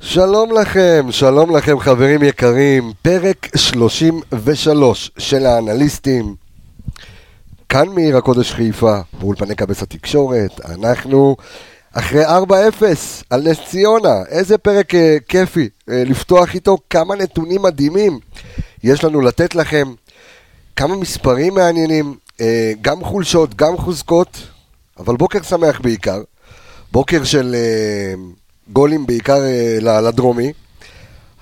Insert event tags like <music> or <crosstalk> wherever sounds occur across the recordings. שלום לכם, שלום לכם חברים יקרים, פרק 33 של האנליסטים. כאן מעיר הקודש חיפה, באולפני קבס התקשורת, אנחנו אחרי 4-0 על נס ציונה, איזה פרק אה, כיפי אה, לפתוח איתו, כמה נתונים מדהימים יש לנו לתת לכם, כמה מספרים מעניינים, אה, גם חולשות, גם חוזקות, אבל בוקר שמח בעיקר, בוקר של אה, גולים בעיקר אה, ל- לדרומי,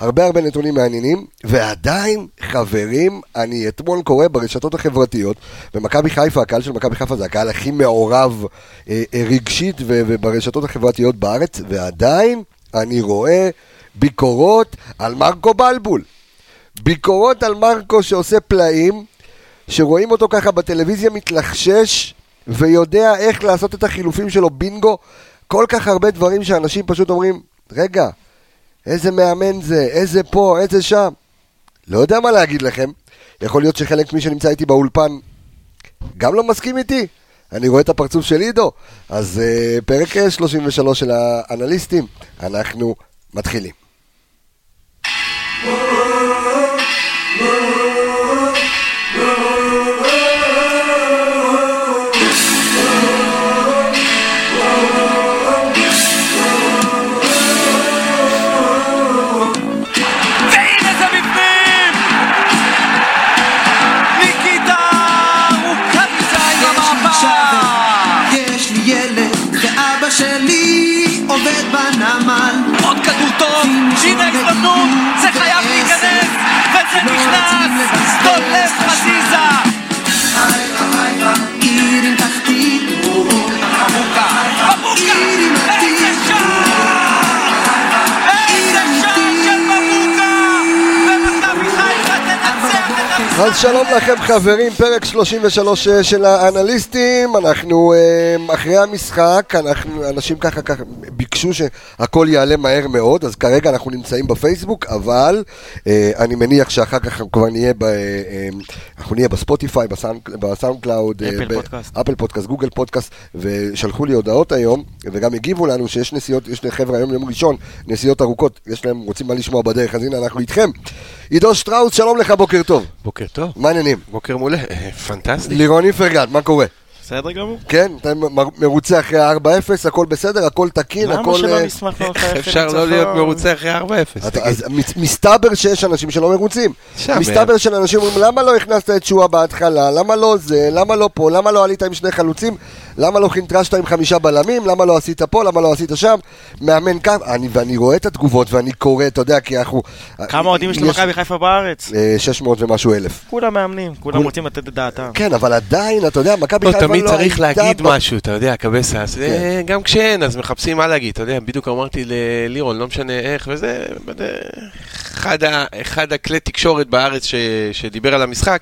הרבה הרבה נתונים מעניינים, ועדיין, חברים, אני אתמול קורא ברשתות החברתיות, במכבי חיפה, הקהל של מכבי חיפה זה הקהל הכי מעורב אה, אה, רגשית ו- וברשתות החברתיות בארץ, ועדיין אני רואה ביקורות על מרקו בלבול. ביקורות על מרקו שעושה פלאים, שרואים אותו ככה בטלוויזיה מתלחשש ויודע איך לעשות את החילופים שלו בינגו, כל כך הרבה דברים שאנשים פשוט אומרים, רגע, איזה מאמן זה, איזה פה, איזה שם. לא יודע מה להגיד לכם, יכול להיות שחלק מי שנמצא איתי באולפן גם לא מסכים איתי, אני רואה את הפרצוף של עידו, אז אה, פרק אה, 33 של האנליסטים, אנחנו מתחילים. והנה זה בפנים! ניקיטה ארוכה מזה עם יש לי המעבר! שווה, יש לי ילד, ואבא שלי עובד בנמל. עוד כדור טוב, הנה ההזדמנות, זה חייב להיכנס! וזה נכנס! טוב לב חזיזה! עיר עם תחתית, מבוקה! מבוקה! איזה שער! איזה שער של מבוקה! ומכבי חיפה תנצח את המשחק! אז שלום לכם חברים, פרק 33 של האנליסטים, אנחנו אמ, אחרי המשחק, אנחנו, אנשים ככה ככה ביקשו שהכל יעלה מהר מאוד, אז כרגע אנחנו נמצאים בפייסבוק, אבל אה, אני מניח שאחר כך אנחנו כבר נהיה, ב, אה, אמ, אנחנו נהיה בספוטיפיי, בסאונד, בסאונד קלאוד, אה, אפל ב- פודקאסט. אפל פודקאסט, גוגל פודקאסט, ושלחו לי הודעות היום, וגם הגיבו לנו שיש נסיעות, יש לחבר'ה היום יום ראשון, נסיעות ארוכות, יש להם, רוצים מה לשמוע בדרך, אז הנה אנחנו איתכם. עידו שטראוס, שלום לך, בוקר טוב. בוקר טוב. מה העניינים? בוקר מעולה, אה, פנטסטי. לירון איפרגן, מה קורה? בסדר <laughs> גמור. כן, אתה מ- מרוצה אחרי ה-4-0, הכל בסדר, הכל תקין, למה הכל... שלא אה, נשמח <laughs> איך להוכיח אפשר לא להיות מרוצה אחרי 4-0? אתה- תגיד. אז מצ- מסתבר שיש אנשים שלא מרוצים. שם, מסתבר שאנשים אומרים, למה לא הכנסת את שואה בהתחלה? למה לא זה? למה לא פה? למה לא עלית עם שני חלוצים? למה לא חינטרשת עם חמישה בלמים? למה לא עשית פה? למה לא עשית שם? מאמן קו... אני- ואני רואה את התגובות ואני קורא, אתה יודע, כי אנחנו... כמה אוהדים יש למכבי חיפה בארץ? אה, 600 ומשהו אלף. כולם מאמנים, כול- כולם רוצים לתת את דעתם. כן, אבל עדיין, אתה יודע, מכבי לא, חיפה לא תמיד צריך הייתה כן. להגיד ב- משהו, אתה יודע, קבסה. אז, אה, גם כשאין, אז מחפשים מה להגיד. אתה יודע, בדיוק אמרתי ללירון, לא משנה איך וזה, וזה, אחד ה- אחד הכלי תקשורת בארץ ש- שדיבר על המשחק,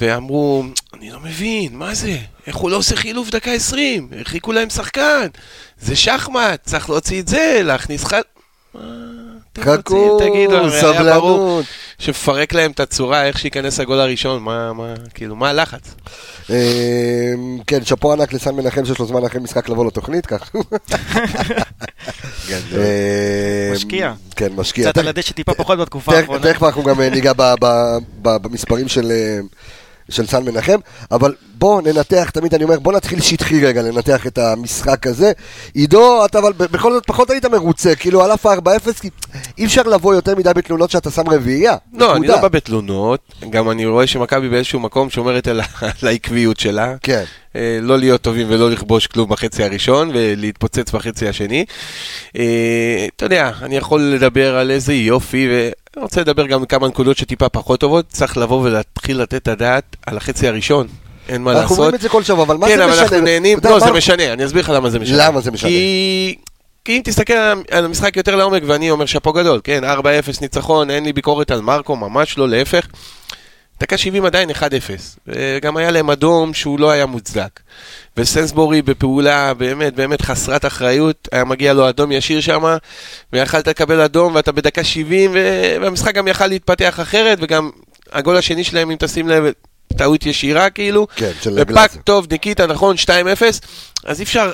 ואמרו, אני לא מבין, מה זה? איך הוא לא עושה חילוף דקה 20? הרחיקו להם שחקן. זה שחמט, צריך להוציא את זה, להכניס חל... מה? אתם חכו, רוצים, תגידו, הרי היה ברור. סבלנות. שמפרק להם את הצורה, איך שייכנס הגול הראשון, מה, מה, כאילו, מה הלחץ? אה, כן, שאפו ענק לסן מנחם שיש לו זמן אחרי משחק לבוא לתוכנית, כך. אה, משקיע. אמ, כן, משקיע. קצת על הדשא אה, טיפה פחות בתקופה תכף- האחרונה. תכף אנחנו גם אה, ניגע ב- ב- ב- במספרים של... אה, של סן מנחם, אבל בוא ננתח, תמיד אני אומר, בוא נתחיל שטחי רגע לנתח את המשחק הזה. עידו, אתה אבל ב- בכל זאת פחות היית מרוצה, כאילו על אף ה-4-0, כי אי אפשר לבוא יותר מדי בתלונות שאתה שם רביעייה. לא, אני נקודה. לא בא בתלונות, גם אני רואה שמכבי באיזשהו מקום שומרת על, ה- <laughs> על העקביות שלה. כן. אה, לא להיות טובים ולא לכבוש כלום בחצי הראשון ולהתפוצץ בחצי השני. אה, אתה יודע, אני יכול לדבר על איזה יופי, ואני רוצה לדבר גם על כמה נקודות שטיפה פחות טובות. צריך לבוא ולהתחיל לתת את הדעת על החצי הראשון, אין מה אנחנו לעשות. אומרים את זה כל שבוע, אבל מה זה כן, משנה? אבל אנחנו נהנים, אתה יודע, לא, מה- זה משנה, אני אסביר לך למה זה משנה. למה זה משנה? כי... כי אם תסתכל על ה- על המשחק יותר לעומק, ואני אומר שאפו גדול, כן, 4-0 ניצחון, אין לי ביקורת על מרקו, ממש לא, להפך. דקה 70 עדיין 1-0, וגם היה להם אדום שהוא לא היה מוצדק. וסנסבורי בפעולה באמת באמת חסרת אחריות, היה מגיע לו אדום ישיר שם, ויכלת לקבל אדום ואתה בדקה 70, ו... והמשחק גם יכל להתפתח אחרת, וגם הגול השני שלהם, אם תשים לב, טעות ישירה כאילו, כן, של ופאק גלאזר. טוב, ניקיטה, נכון, 2-0, אז אי אפשר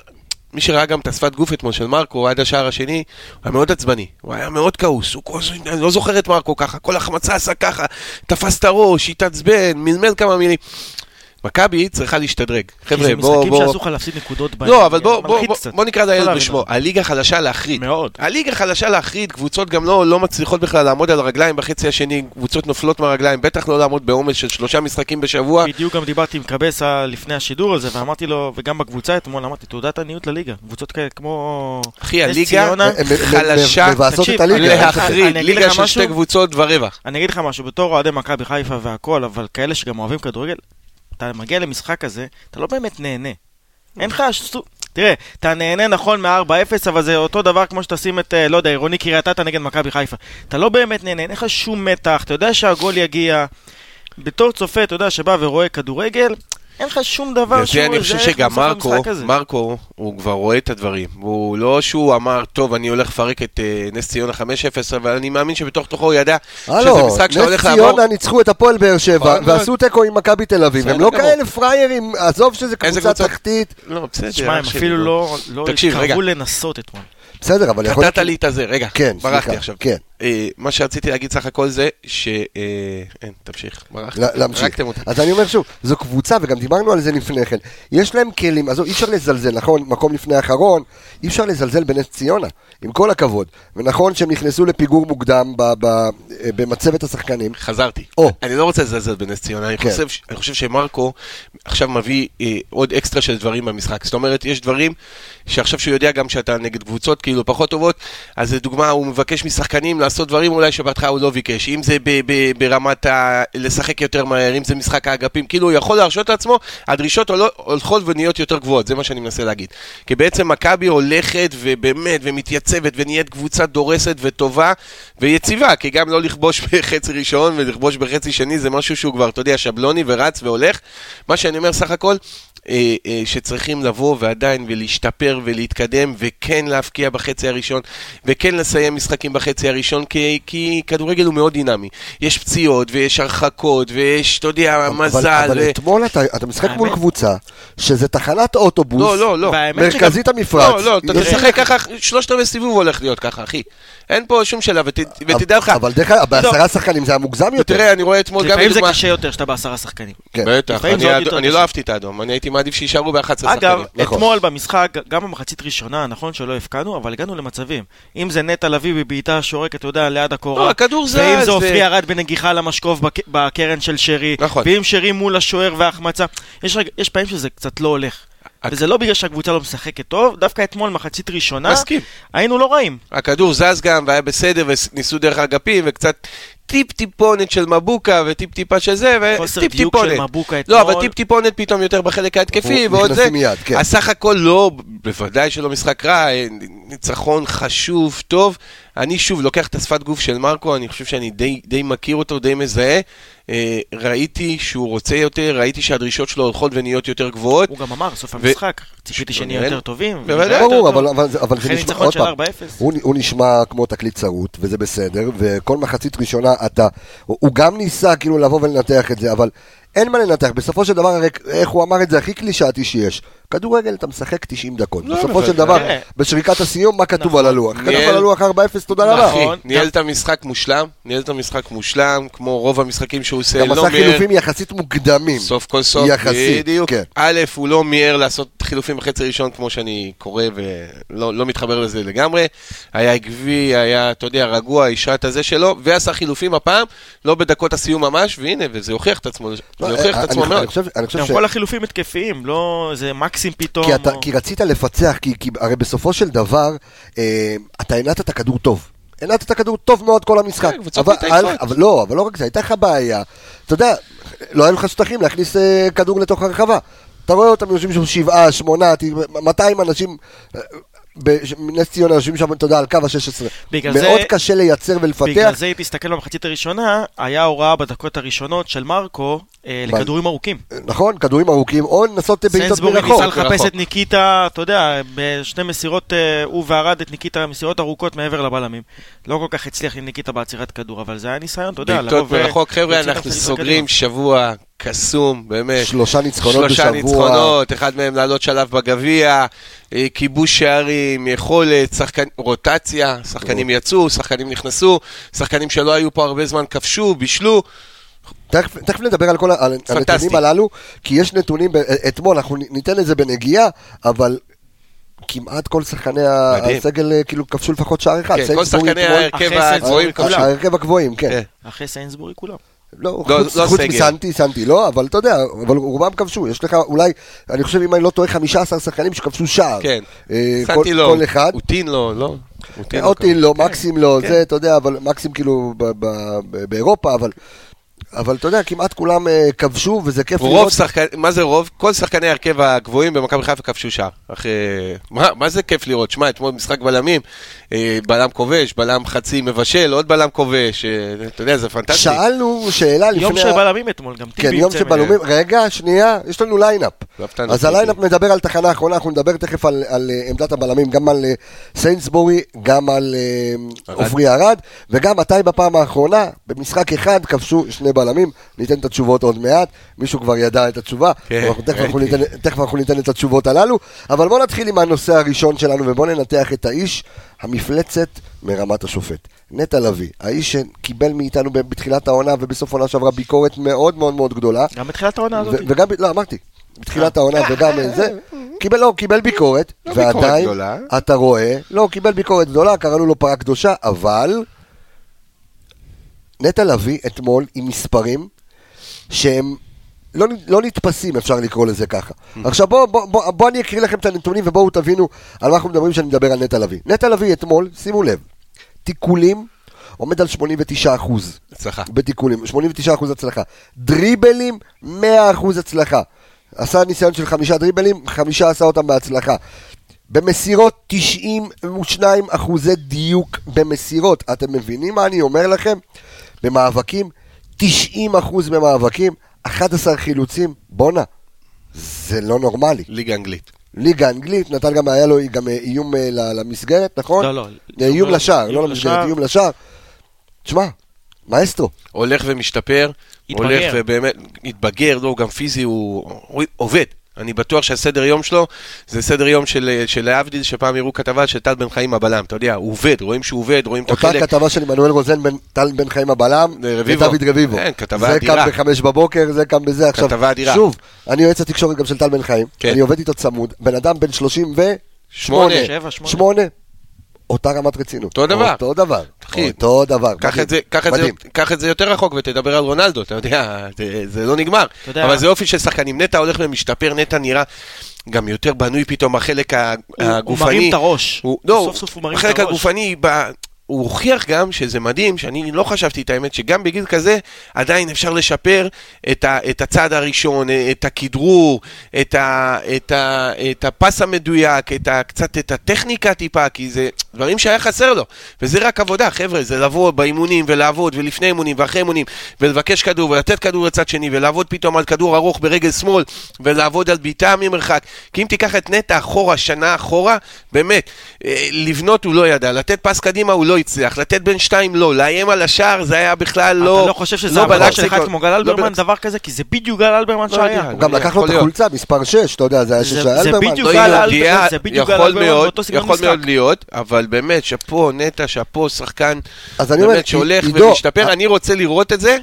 מי שראה גם את השפת גוף אתמול של מרקו עד השער השני, הוא היה מאוד עצבני, הוא היה מאוד כעוס, הוא כל הזמן, אני לא זוכר את מרקו ככה, כל החמצה עשה ככה, תפס את הראש, התעצבן, מלמל כמה מילים. מכבי צריכה להשתדרג. חבר'ה, זה בואו, משחקים בואו. שאסור לך להפסיד נקודות בהם. לא, אבל בואו, מלחיץ בואו, בואו, קצת. בואו נקרא לא לילד להבין. בשמו. הליגה חלשה להחריד. מאוד. הליגה חלשה להחריד, קבוצות גם לא, לא מצליחות בכלל לעמוד על הרגליים בחצי השני, קבוצות נופלות מהרגליים, בטח לא לעמוד בעומס של שלושה משחקים בשבוע. לא. בדיוק גם דיברתי עם קבסה לפני השידור הזה, ואמרתי לו, וגם בקבוצה אתמול, אמרתי, תעודת עניות לליגה. קבוצות כאלה כמו... אחי, נס הליגה אה, ציונה. הם- הם- חלשה, הם מבאסות את תקשיב, הליגה. אין ספק. אני להחריד, אגיד ליגה לך של משהו? שתי קבוצות ורווח. אני אגיד לך משהו, בתור אוהדי מכבי חיפה והכל, אבל כאלה שגם אוהבים כדורגל, אתה מגיע למשחק הזה, אתה לא באמת נהנה. אין לך... שסו- תראה, אתה נהנה נכון מ-4-0, אבל זה אותו דבר כמו שתשים את, אה, לא יודע, עירוני קריית אתא נגד מכבי חיפה. אתה לא באמת נהנה, אין לך שום מתח, אתה יודע שהגול יגיע. בתור צופה, אתה יודע, שבא ורואה כדורגל, אין לך שום דבר גברתי, אני חושב זה שגם איך לעשות מרקו, במשחק הזה. מרקו, הוא כבר רואה את הדברים. הוא לא שהוא אמר, טוב, אני הולך לפרק את אה, נס ציונה 5-0, אבל אני מאמין שבתוך תוכו הוא ידע שזה הלו, משחק שאתה אה, לא, נס הולך לעבור. ציונה ניצחו את הפועל באר שבע, נכון מאוד. ועשו תיקו עם מכבי תל אביב. הם בסדר לא גמור. כאלה פריירים, עזוב שזה קבוצה קבוצה? תחתית. לא, בסדר. תשמע, הם אח שלי, אפילו בוא. לא לא תקשיב, רגע. התקרבו לנסות אתמול. בסדר, אבל יכול קטעת לי את הזה, רגע, כן, ברחתי סליחה, עכשיו. כן. אה, מה שרציתי להגיד סך הכל זה ש... אה, אין, תמשיך, ברחתי. לה- להמשיך. הרגתם אותי. אז אני אומר שוב, זו קבוצה, וגם דיברנו על זה לפני כן. יש להם כלים, עזוב, אי אפשר לזלזל, נכון? מקום לפני האחרון, אי אפשר לזלזל בנס ציונה, עם כל הכבוד. ונכון שהם נכנסו לפיגור מוקדם ב- ב- במצבת השחקנים. חזרתי. או. אני לא רוצה לזלזל בנס ציונה, אני, כן. חושב, ש- אני חושב שמרקו עכשיו מביא אה, עוד אקסטרה של דברים במשחק. זאת אומרת, יש דברים שעכשיו שהוא יודע גם שאתה נגד קבוצות כאילו פחות טובות, אז לדוגמה, הוא מבקש משחקנים לעשות דברים אולי שבהתחלה הוא לא ביקש. אם זה ב- ב- ברמת ה... לשחק יותר מהר, אם זה משחק האגפים, כאילו הוא יכול להרשות לעצמו, הדרישות עולות- הולכות ונהיות יותר גבוהות, זה מה שאני מנסה להגיד. כי בעצם מכבי הולכת ובאמת, ומתייצבת, ונהיית קבוצה דורסת וטובה ויציבה, כי גם לא לכבוש בחצי ראשון ולכבוש בחצי שני זה משהו שהוא כבר, אתה יודע, שבלוני ורץ והולך. מה שאני אומר סך הכל, אה, אה, שצריכים לבוא ועדיין ולהשתפר ולהתקדם, וכן להפקיע בחצי הראשון, וכן לסיים משחקים בחצי הראשון, כי, כי כדורגל הוא מאוד דינמי. יש פציעות, ויש הרחקות, ויש, אתה יודע, אבל- מזל. אבל ו... אתמול אתה אתה משחק מול האמת- קבוצה, שזה תחנת אוטובוס. לא, לא, לא. והאמת מרכזית המפרץ. לא, לא, אתה יש- תשחק ככה, שלושת רבעי סיבוב הולך להיות ככה, אחי. אין פה שום שאלה, ות- ותדע לך, אבל דרך אגב, בעשרה שחקנים זה היה מוגזם יותר. ותראה, אני רואה אתמול גם לפעמים זה לדוגמה... קשה יותר שאתה בעשרה שחקנים. כן. בטח, לפעמים זה אני עוד האד- יותר אני קשה. לא אהבתי את האדום, אני הייתי מעדיף שיישארו ב-11 שחקנים. אגב, נכון. אתמול במשחק, גם במחצית ראשונה, נכון שלא הבקענו, אבל הגענו למצבים. אם זה נטע לביא בבעיטה שורקת, אתה יודע, ליד הקורה. לא, הכדור זז, ואם זה- זה עופרי ירד בנגיחה למשקוף בק- בקרן של שרי. נכון. ואם שרי מול השוער וההחמצה. יש רגע- יש פעמים שזה קצת לא הולך. הק- וזה לא בגלל שהקבוצה לא משחקת טוב, דווקא אתמול, מחצית ראשונה, מסכים. היינו לא רעים. הכדור זז גם, והיה בסדר, וניסו דרך אגפים, וקצת טיפ-טיפונת של מבוקה, וטיפ-טיפה של זה, חוסר וטיפ-טיפונת. דיוק של מבוקה לא, אבל אתמול. טיפ-טיפונת פתאום יותר בחלק ההתקפי, אנחנו ועוד זה. נכנסים מיד, כן. הסך הכל לא, בוודאי שלא משחק רע, אה, ניצחון חשוב, טוב. אני שוב לוקח את השפת גוף של מרקו, אני חושב שאני די, די מכיר אותו, די מזהה. אה, ראיתי שהוא רוצה יותר, ראיתי שהדרישות שלו הולכות ונהיות יותר גבוהות. הוא גם אמר, סוף ו- המשחק, ציפיתי שנהיה נראה- יותר טובים. בוודאי. ונראה ברור, יותר אבל, טוב. אבל, זה- אבל זה אחרי נשמע, ניצחון עוד של פעם, 4-0. הוא, נ- הוא נשמע כמו תקליט צרוט, וזה בסדר, וכל מחצית ראשונה אתה, הוא, הוא גם ניסה כאילו לבוא ולנתח את זה, אבל אין מה לנתח, בסופו של דבר, הרי איך הוא אמר את זה הכי קלישאתי שיש, כדורגל אתה משחק 90 דקות, לא, נכון. בסופו בוודאי. של דבר, תראה. בשריקת הסיום, מה כתוב על הלוח? כתוב ניהל- על הלוח 4-0, תודה רבה. אחי, נכון. ניהל גם- את המשחק מושלם, ניהל את המשחק מושלם, כמו רוב המשחקים שהוא עושה, גם לא עשה מיהר, חילופים יחסית מוקדמים. סוף כל סוף, יחסית, בדיוק. כן. א', הוא לא מיהר לעשות חילופים בחצי ראשון, כמו שאני קורא ולא לא מתחבר לזה לגמרי. היה עקבי, היה, אתה יודע, רגוע, אישה את הזה שלו, ועשה חילופים הפעם, לא בדקות הסיום ממש, והנה, וזה הוכיח את עצמו, זה הוכיח לא, אה, אני- את עצמו אני- מאוד. אני חושב- אני חושב גם ש... כל החילופים התקפיים, לא איזה מקסים פתאום. כי, אתה, או- כי רצית לפצח, כי, כי הרי בסופו של דבר, אה, אתה הנעת את הכדור טוב. הנעת את הכדור טוב מאוד כל המשחק. כן, קבוצות אבל, מתעייפות. היה- אבל לא, אבל לא רק זה, הייתה לך בעיה. אתה יודע, לא היו לך שטחים להכניס אה, כדור לתוך הרחבה. אתה רואה אותם יושבים שם שבעה, שמונה, ת- 200 אנשים אה, בש- מנס ציונה יושבים שם, אתה יודע, על קו ה-16. בגלל מאוד זה- קשה לייצר בגלל ולפתח. זה, אם תסתכל במחצית הראשונה, היה הוראה בדקות הראשונות של מרקו אה, מה? לכדורים ארוכים. נכון, כדורים ארוכים, או לנסות אה, בעיטות סיינסבורי מרחוק. ניסה לחפש מרחוק. את ניקיטה, אתה יודע, בשני מסירות, אה, הוא וערד את ניקיטה, מסירות ארוכות מעבר לבלמים. לא כל כך הצליח עם ניקיטה בעצירת כדור, אבל זה היה ניסיון, אתה יודע, בעיטות אה, מרחוק, חבר'ה, להוציא את אנחנו המשחק סוגרים קדימה. שבוע קסום, באמת. שלושה ניצחונות שלושה בשבוע. ניצחונות, אחד מהם לעלות שלב בגביע, אה, כיבוש שערים, יכולת, שחקן, רוטציה, שחקנים יצאו, שחקנים נכנסו, שחקנים שלא היו פה הרבה זמן כבשו, בישלו. תכף תכף נדבר על כל ה- על הנתונים פנטסטי. הללו, כי יש נתונים, ב- אה, אתמול אנחנו ניתן לזה בנגיעה, אבל כמעט כל שחקני ה- מדהים. הסגל אה, כאילו כבשו לפחות שער אחד. כן, סיינסבורי כל שחקני אתמול- אה, ההרכב אחרי סנסבורי הגבוהים כולם. כולם. ההרכב הגבוהים, כן. כן. אחרי סיינסבורי כולם. לא, לא, חוץ- לא חוץ סגל. מסנטי, סנטי לא, אבל אתה יודע, אבל רובם כבשו. יש לך אולי, אני חושב, אם אני לא טועה, 15 שחקנים שכבשו שער. כן. אה, כל- סנטי לא, כל אחד. אוטין לא, לא. אוטין לא אוטין כבש. לא, מקסים לא, כן. זה, אתה יודע, אבל מקסים כאילו ב- ב- ב- באירופה, אבל... אבל אתה יודע, כמעט כולם אה, כבשו, וזה כיף רוב לראות. שחקן, מה זה רוב? כל שחקני ההרכב הגבוהים במכבי חיפה כבשו שער. אחרי... מה, מה זה כיף לראות? שמע, אתמול משחק בלמים, אה, בלם כובש, בלם חצי מבשל, עוד בלם כובש, אה, אתה יודע, זה פנטסטי. שאלנו שאלה לפני... יום של ה- בלמים אתמול, גם טיבי כן, יום יוצא. של בלומים. רגע, שנייה, יש לנו ליינאפ. לא הפתענו אז אותי. הליינאפ מדבר על תחנה האחרונה, אנחנו נדבר תכף על- על אה, עמדת הבלמים, גם על אה, סיינסבורי, גם על אה, ארד. עופרי ארד, וגם מתי בפעם האחרונה, במשחק אחד, כבשו שני בלמים. ניתן את התשובות עוד מעט, מישהו כבר ידע את התשובה. כן, אנחנו- תכף אנחנו ראיתי. ניתן- תכף אנחנו ניתן את התשובות הללו, אבל בואו נתחיל עם הנושא הראשון שלנו, ובואו ננתח את האיש, המפלצת מרמת השופט. נטע לביא, האיש שקיבל מאיתנו ב- בתחילת העונה ובסוף העונה שעברה ביקורת מאוד מאוד מאוד גדולה. גם בתחילת העונה הזאת. ו- וגם, לא, אמרתי, בתחילת העונה וגם אה, זה, קיבל, לא, קיבל ביקורת, לא ביקורת ועדיין, גדולה. אתה רואה, לא, קיבל ביקורת גדולה, קראנו לו פרה קדושה, אבל נטע לביא אתמול עם מספרים שהם לא, נ- לא נתפסים, אפשר לקרוא לזה ככה. עכשיו בואו בוא, בוא, בוא אני אקריא לכם את הנתונים ובואו תבינו על מה אנחנו מדברים כשאני מדבר על נטע לביא. נטע לביא אתמול, שימו לב, תיקולים עומד על 89 אחוז. הצלחה. בתיקולים, 89% הצלחה. דריבלים, 100% הצלחה. עשה ניסיון של חמישה דריבלים, חמישה עשה אותם בהצלחה. במסירות, 92 אחוזי דיוק במסירות. אתם מבינים מה אני אומר לכם? במאבקים, 90 אחוז במאבקים, 11 חילוצים, בואנה, זה לא נורמלי. ליגה אנגלית. ליגה אנגלית, נתן גם, היה לו גם אה, איום אה, ל- למסגרת, נכון? לא, לא. איום לשער, לא איום למסגרת, לשער. איום לשער. תשמע, מאסטרו. הולך ומשתפר, התבגר. הולך ובאמת, התבגר, לא, הוא גם פיזי, הוא הוא עובד. אני בטוח שהסדר יום שלו זה סדר יום של אה, של להבדיל, שפעם יראו כתבה של טל בן חיים הבלם, אתה יודע, הוא עובד, רואים שהוא עובד, רואים את אותה החלק. כתבה של עמנואל רוזן בין טל בן חיים הבלם לרביבו. ודוד רביבו. כן, כתבה זה אדירה. קם בחמש בבוקר, זה קם בזה. עכשיו, כתבה אדירה. שוב, אני יועץ התקשורת גם של טל בן חיים, כן. אני עובד איתו צמוד, בן אדם בן 38, שמונה. שבע, שמונה. שמונה, אותה רמת רצינות. אותו דבר. אותו דבר. אחי, אותו דבר. קח את זה- קח את זה- מדהים. קח את זה יותר רחוק ותדבר על רונלדו, אתה יודע, זה- זה לא נגמר. אתה יודע- אבל זה אופי של שחקנים. נטע הולך ומשתפר, נטע נראה גם יותר בנוי פתאום, החלק ה- הוא- הוא הגופני. מרים את הראש. הוא- לא, סוף סוף הוא מרים את החלק הראש. הגופני, ב- הוא הוכיח גם שזה מדהים, שאני לא חשבתי את האמת, שגם בגיל כזה עדיין אפשר לשפר את, ה, את הצעד הראשון, את הכדרור, את, ה, את, ה, את הפס המדויק, את ה, קצת את הטכניקה טיפה, כי זה דברים שהיה חסר לו. וזה רק עבודה, חבר'ה, זה לא- לבוא באימונים ולעבוד, ולפני אימונים ואחרי אימונים, ולבקש כדור ולתת כדור לצד שני, ולעבוד פתאום על כדור ארוך ברגל שמאל, ולעבוד על בעיטה ממרחק. כי אם תיקח את נטע אחורה, שנה אחורה, באמת, אה, לבנות הוא לא ידע, לתת פס קדימה הוא לא הצליח, לתת בין שתיים לא, לאיים על השער זה היה בכלל לא... אתה לא חושב שזה לא עבודה בלט של אחד סיכון. כמו גל לא אלברמן, בלט- דבר כזה? כי זה בדיוק גל אלברמן לא שהיה. יודע. הוא גם לא יודע, לקח לו את יכול להיות. החולצה, מספר 6, אתה יודע, זה היה שש של זה אלברמן. בדיוק לא גל יודע, אלברמן, תהיה- זה בדיוק גל יכול אלברמן מאוד- באותו סגנון יכול משחק. מאוד להיות, אבל באמת, שאפו, נטע, שאפו, שחקן, אז אני אומר, באמת שהולך עידו, אה- ומשתפר, אני רוצה לראות את זה.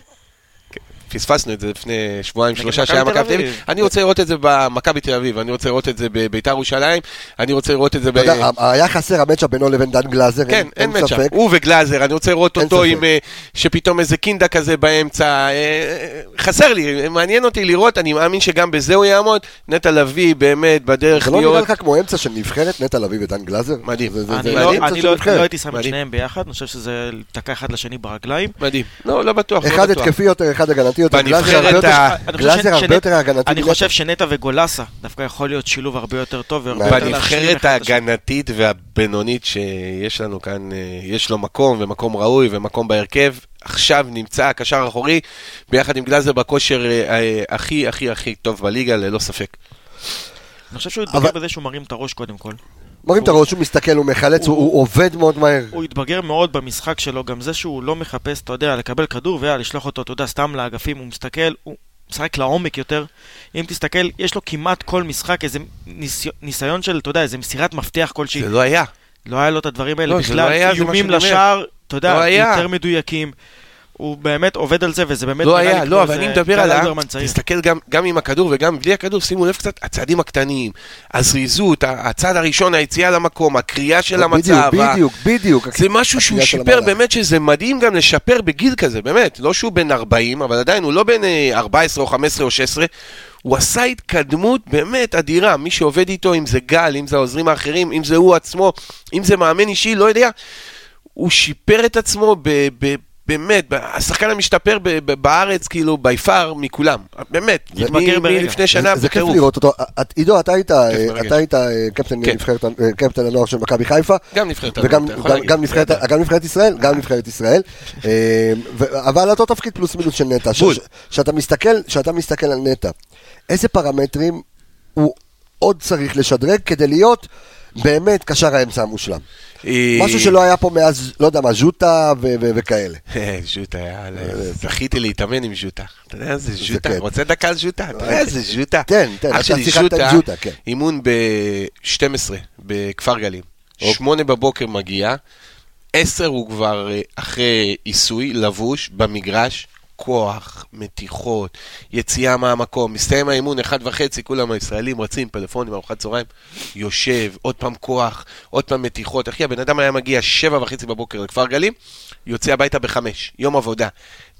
פספסנו את זה לפני שבועיים, נגד שלושה מכבי שהיה תל מכבי תל אביב. אביב. אני רוצה לראות את זה במכבי תל אביב, אני רוצה לראות את זה בביתר ירושלים, אני רוצה לראות את זה ב... אתה יודע, היה חסר המצ'אפ בינו לבין דן גלאזר, כן, אין מצ'אפ. ספק. הוא וגלאזר, אני רוצה לראות אין אותו ספק. עם... אה, שפתאום איזה קינדה כזה באמצע. אה, חסר לי, מעניין אותי לראות, אני מאמין שגם בזה הוא יעמוד. נטע לביא, באמת, בדרך זה לא נראה להיות... לך כמו אמצע של נבחרת, נטע לביא ודן גלאזר? מדהים. זה- זה- אני זה לא- אמצע אני של לא נבחרת. לא הייתי שם את מדהים. שניהם ביחד, אני חושב שזה תקע אחד לשני ברגליים. מדהים. לא, לא בטוח, לא אחד בטוח. התקפי יותר, אחד הגנתי יותר. בנבחרת גלאזר הרבה יותר- ה- אני חושב גלאזר שנ- אה, הרבה יותר הגנתי. אני מנטע. חושב שנטע וגולסה דווקא יכול להיות שילוב הרבה יותר טוב והרבה יותר להשלים אחד בנבחרת את השני. ההגנתית והבינונית שיש לנו כאן, אה, יש לו מקום, ומקום ראוי, ומקום בהרכב. עכשיו נמצא הקשר האחורי, ביחד עם גלאזר בכושר אה, אה, הכי הכי הכי טוב בליגה, ללא ספק. אני חושב שהוא התבגר אבל- בזה שהוא מרים את הראש קודם כל. מרים את הראש, הוא מסתכל, הוא מחלץ, הוא- הוא עובד מאוד מהר. הוא התבגר מאוד במשחק שלו, גם זה שהוא לא מחפש, אתה יודע, לקבל כדור ולשלוח אותו, אתה יודע, סתם לאגפים, הוא מסתכל, הוא משחק לעומק יותר. אם תסתכל, יש לו כמעט כל משחק איזה ניסיון, ניסיון של, אתה יודע, איזה מסירת מפתח כלשהי. זה לא היה. לא היה לו את הדברים האלה לא, זה לא בכלל, היה, זה מה איומים שאני אומר. לשער, אתה יודע, לא היה. יותר מדויקים. הוא באמת עובד על זה, וזה באמת... לא נראה היה, לי לא, כמו אבל איזה אני מדבר גל על ה... אלברמן צעיר. תסתכל גם- גם עם הכדור וגם בלי הכדור, שימו לב קצת, הצעדים הקטנים, הזריזות, ה- הצעד הראשון, היציאה למקום, הקריאה של המצב. בדיוק, ה- בדיוק, בדיוק. זה משהו שהוא הקריאה של שיפר, המהלך. באמת שזה מדהים גם לשפר בגיל כזה, באמת. לא שהוא בן 40, אבל עדיין הוא לא בן אה, 14 או 15 או 16. הוא עשה התקדמות באמת אדירה. מי שעובד איתו, אם זה גל, אם זה העוזרים האחרים, אם זה הוא עצמו, אם זה מאמן אישי, לא יודע. הוא שיפר את עצמו ב... ב באמת, ב- השחקן המשתפר ב- ב- בארץ, כאילו, בי פאר מכולם. באמת, זה- מ- מתמכר ברגע. מלפני שנה זה- זה כיף בטירוף. לראות אותו. את- עידו, אתה היית, אה, מרגש. אתה היית אה, קפטן כן. נבחרת- אה, קפטן הנוער של מכבי חיפה. גם נבחרת הנוער, וגם אתה יכול גם- להגיד. גם נבחרת- בסדר. גם נבחרת ישראל, גם נבחרת ישראל. אה, ו- אבל אותו תפקיד פלוס מינוס של נטע. ש- בול. ש- שאתה מסתכל, שאתה מסתכל על נטע, איזה פרמטרים הוא עוד צריך לשדרג כדי להיות באמת קשר האמצע המושלם? אה, משהו שלא היה פה מאז, לא יודע מה, ז'וטה ו- ו- וכאלה. אה, ז'וטה, יאללה, זכיתי להתאמן עם ז'וטה. אתה יודע איזה ז'וטה? אה, כן. אה, רוצה דקה על ז'וטה? אתה יודע איזה ז'וטה? תן, תן, אח אתה שלי שיחקת עם ז'וטה, כן. אימון ב-12 בכפר גלים. אוקיי. שמונה בבוקר מגיע, עשר הוא כבר אה, אחרי עיסוי, לבוש, במגרש. כוח, מתיחות, יציאה מהמקום, מסתיים האימון, אחד וחצי, כולם הישראלים רצים, פלאפונים, ארוחת צהריים, יושב, עוד פעם כוח, עוד פעם מתיחות. אחי, הבן אדם היה מגיע שבע וחצי בבוקר לכפר גלים, יוצא הביתה בחמש, יום עבודה.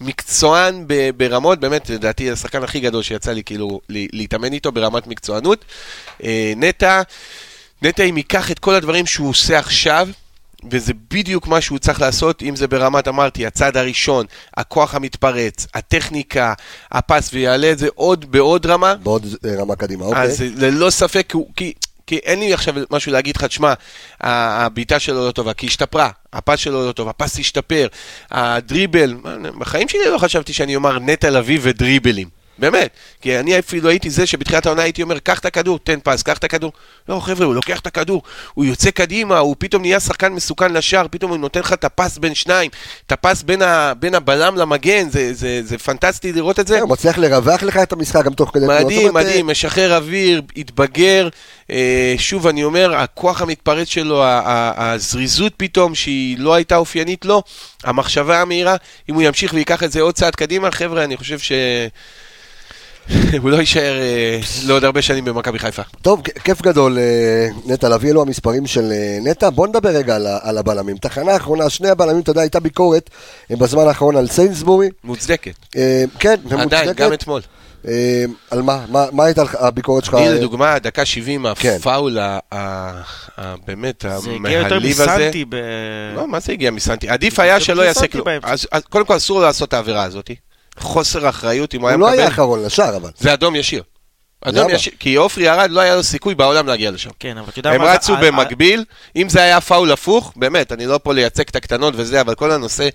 מקצוען ב- ברמות, באמת, לדעתי, השחקן הכי גדול שיצא לי כאילו ל- להתאמן איתו ברמת מקצוענות. אה, נטע, נטע, אם ייקח את כל הדברים שהוא עושה עכשיו, וזה בדיוק מה שהוא צריך לעשות, אם זה ברמת, אמרתי, הצעד הראשון, הכוח המתפרץ, הטכניקה, הפס, ויעלה את זה עוד בעוד רמה, בעוד אה, רמה קדימה, אוקיי. אז ללא ספק, כי הוא- כי, כי אין לי עכשיו משהו להגיד לך, תשמע, ה- הבעיטה שלו לא טובה, כי היא השתפרה, הפס שלו לא טוב, הפס השתפר, הדריבל, בחיים שלי לא חשבתי שאני אומר נטע לביא ודריבלים. באמת, כי אני אפילו הייתי זה שבתחילת העונה הייתי אומר, קח את הכדור, תן פס, קח את הכדור. לא, חבר'ה, הוא לוקח את הכדור, הוא יוצא קדימה, הוא פתאום נהיה שחקן מסוכן לשער, פתאום הוא נותן לך את הפס בין שניים, את הפס בין, ה, בין הבלם למגן, זה, זה, זה פנטסטי לראות את זה. כן, הוא מצליח לרווח לך את המשחק גם תוך כדי... תנועה. זאת מדהים, אומרת, אה, מדהים, משחרר אוויר, התבגר, אה, שוב אני אומר, הכוח המתפרץ שלו, ה- ה- הזריזות פתאום, שהיא לא הייתה אופיינית לו, המחשבה המהירה, אם הוא ימשיך וייקח את זה עוד צעד קדימה, חבר'ה, אני חושב ש... <laughs> הוא לא יישאר אה, לעוד הרבה שנים במכבי חיפה. טוב, כ- כיף גדול, אה, נטע לביא, אלו המספרים של אה, נטע. בוא נדבר רגע על ה- על הבלמים. תחנה האחרונה, שני הבלמים, אתה יודע, הייתה ביקורת אה, בזמן האחרון על סיינסבורי. מוצדקת. אה, כן, ומוצדקת. עדיין, גם אתמול. אה, על מה? מה- מה הייתה לך- הביקורת שלך? לי אה, לדוגמה, דקה 70, כן. הפאול, ה- ה- ה- באמת, זה הגיע יותר המהליב הזה. מסנטי ב... לא, מה זה הגיע מסנטי? עדיף היה זה שלא פשוט יעשה סנטי כלום. באמצע. אז- אז קודם כל אסור לו לעשות את העבירה הזאת. חוסר אחריות, אם הוא היה הוא לא היה מקבל... אחרון לשער, אבל. זה אדום ישיר. אדום למה? ישיר, כי עופרי ירד, לא היה לו סיכוי בעולם להגיע לשם. כן, אבל אתה יודע הם מה זה- רצו ה- ה- במקביל, אם זה היה פאול הפוך, באמת, אני לא פה לייצג את הקטנות וזה, אבל כל הנושא